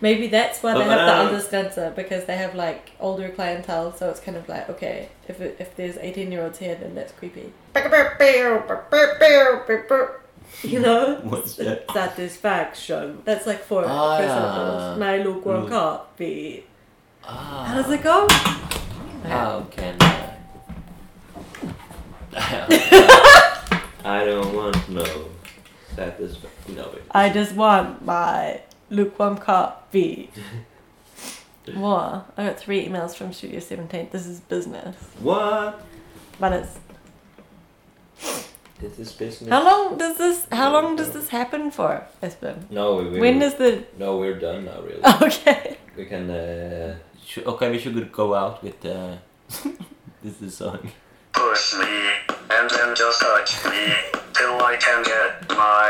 B: maybe that's why they
A: But- but I
B: have
A: don't-
B: the understancer because they have like older clientele so it's kind of like okay if, it, if there's 18 year olds here then that's creepy you know
A: What's that?
B: satisfaction that's like for
A: Ah.
B: ah, my look
A: Mm.
B: coffee
A: Ah,
B: how does it go
A: how can I? I don't want no satisfaction. No, wait.
B: I just want my lukewarm coffee. Wow, I got three emails from Studio 17. This is business.
A: what?
B: But it's
A: This is business.
B: how long does this how long does this happen for, Espen?
A: No, we, we
B: When Ah. does the
A: no, we're done now. Really,
B: Okay.
A: we can. Uh, sh- okay, we should go out with. Uh, this is the song.
E: Push me, and then just touch me, till I can get my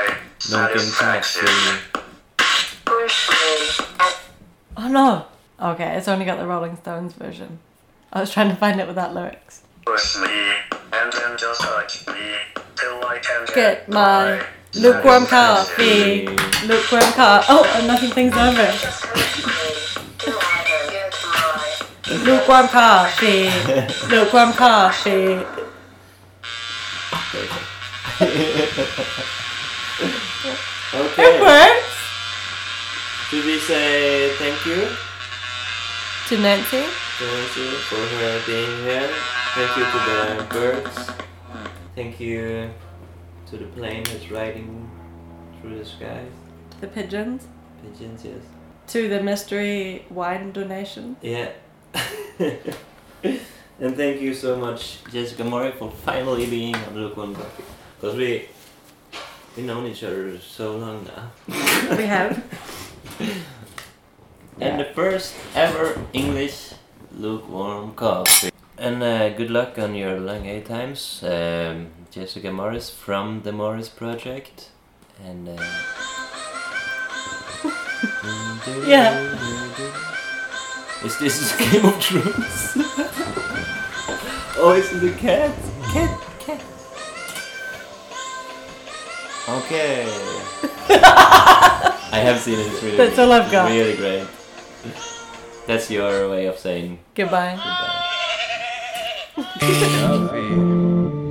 A: No things
E: satisfaction. Push me,
B: Oh no. Okay, it's only got the Rolling Stones version. I was trying to find it without lyrics.
E: push me, and then just touch me, till I can get,
B: Get my lukewarm
E: lukewarm
B: coffee. Lukewarm coffee. Oh, and nothing things over. Lukewarm coffee. Lukewarm coffee. It
A: Okay.
B: works.
A: Should we say thank you
B: To Nancy.
A: to Nancy for her being here? Thank you to the birds. Thank you to the plane that's riding through the skies.
B: To the pigeons.
A: Pigeons, yes.
B: To the mystery wine donation.
A: Yeah. and thank you so much, Jessica Mori, for finally being on Look One Coffee. Because we we known each other so long now.
B: We have.
A: And the first ever English lukewarm coffee. And uh, good luck on your long A times, um, Jessica Morris from the Morris Project. And uh,
B: Yeah.
A: Is this Game of Thrones? oh, is it a cat? Cat, cat. Okay. I have seen it. It's really
B: That's all I've got.
A: Really great. That's your way of saying
B: Goodbye.
A: goodbye.
C: Coffee.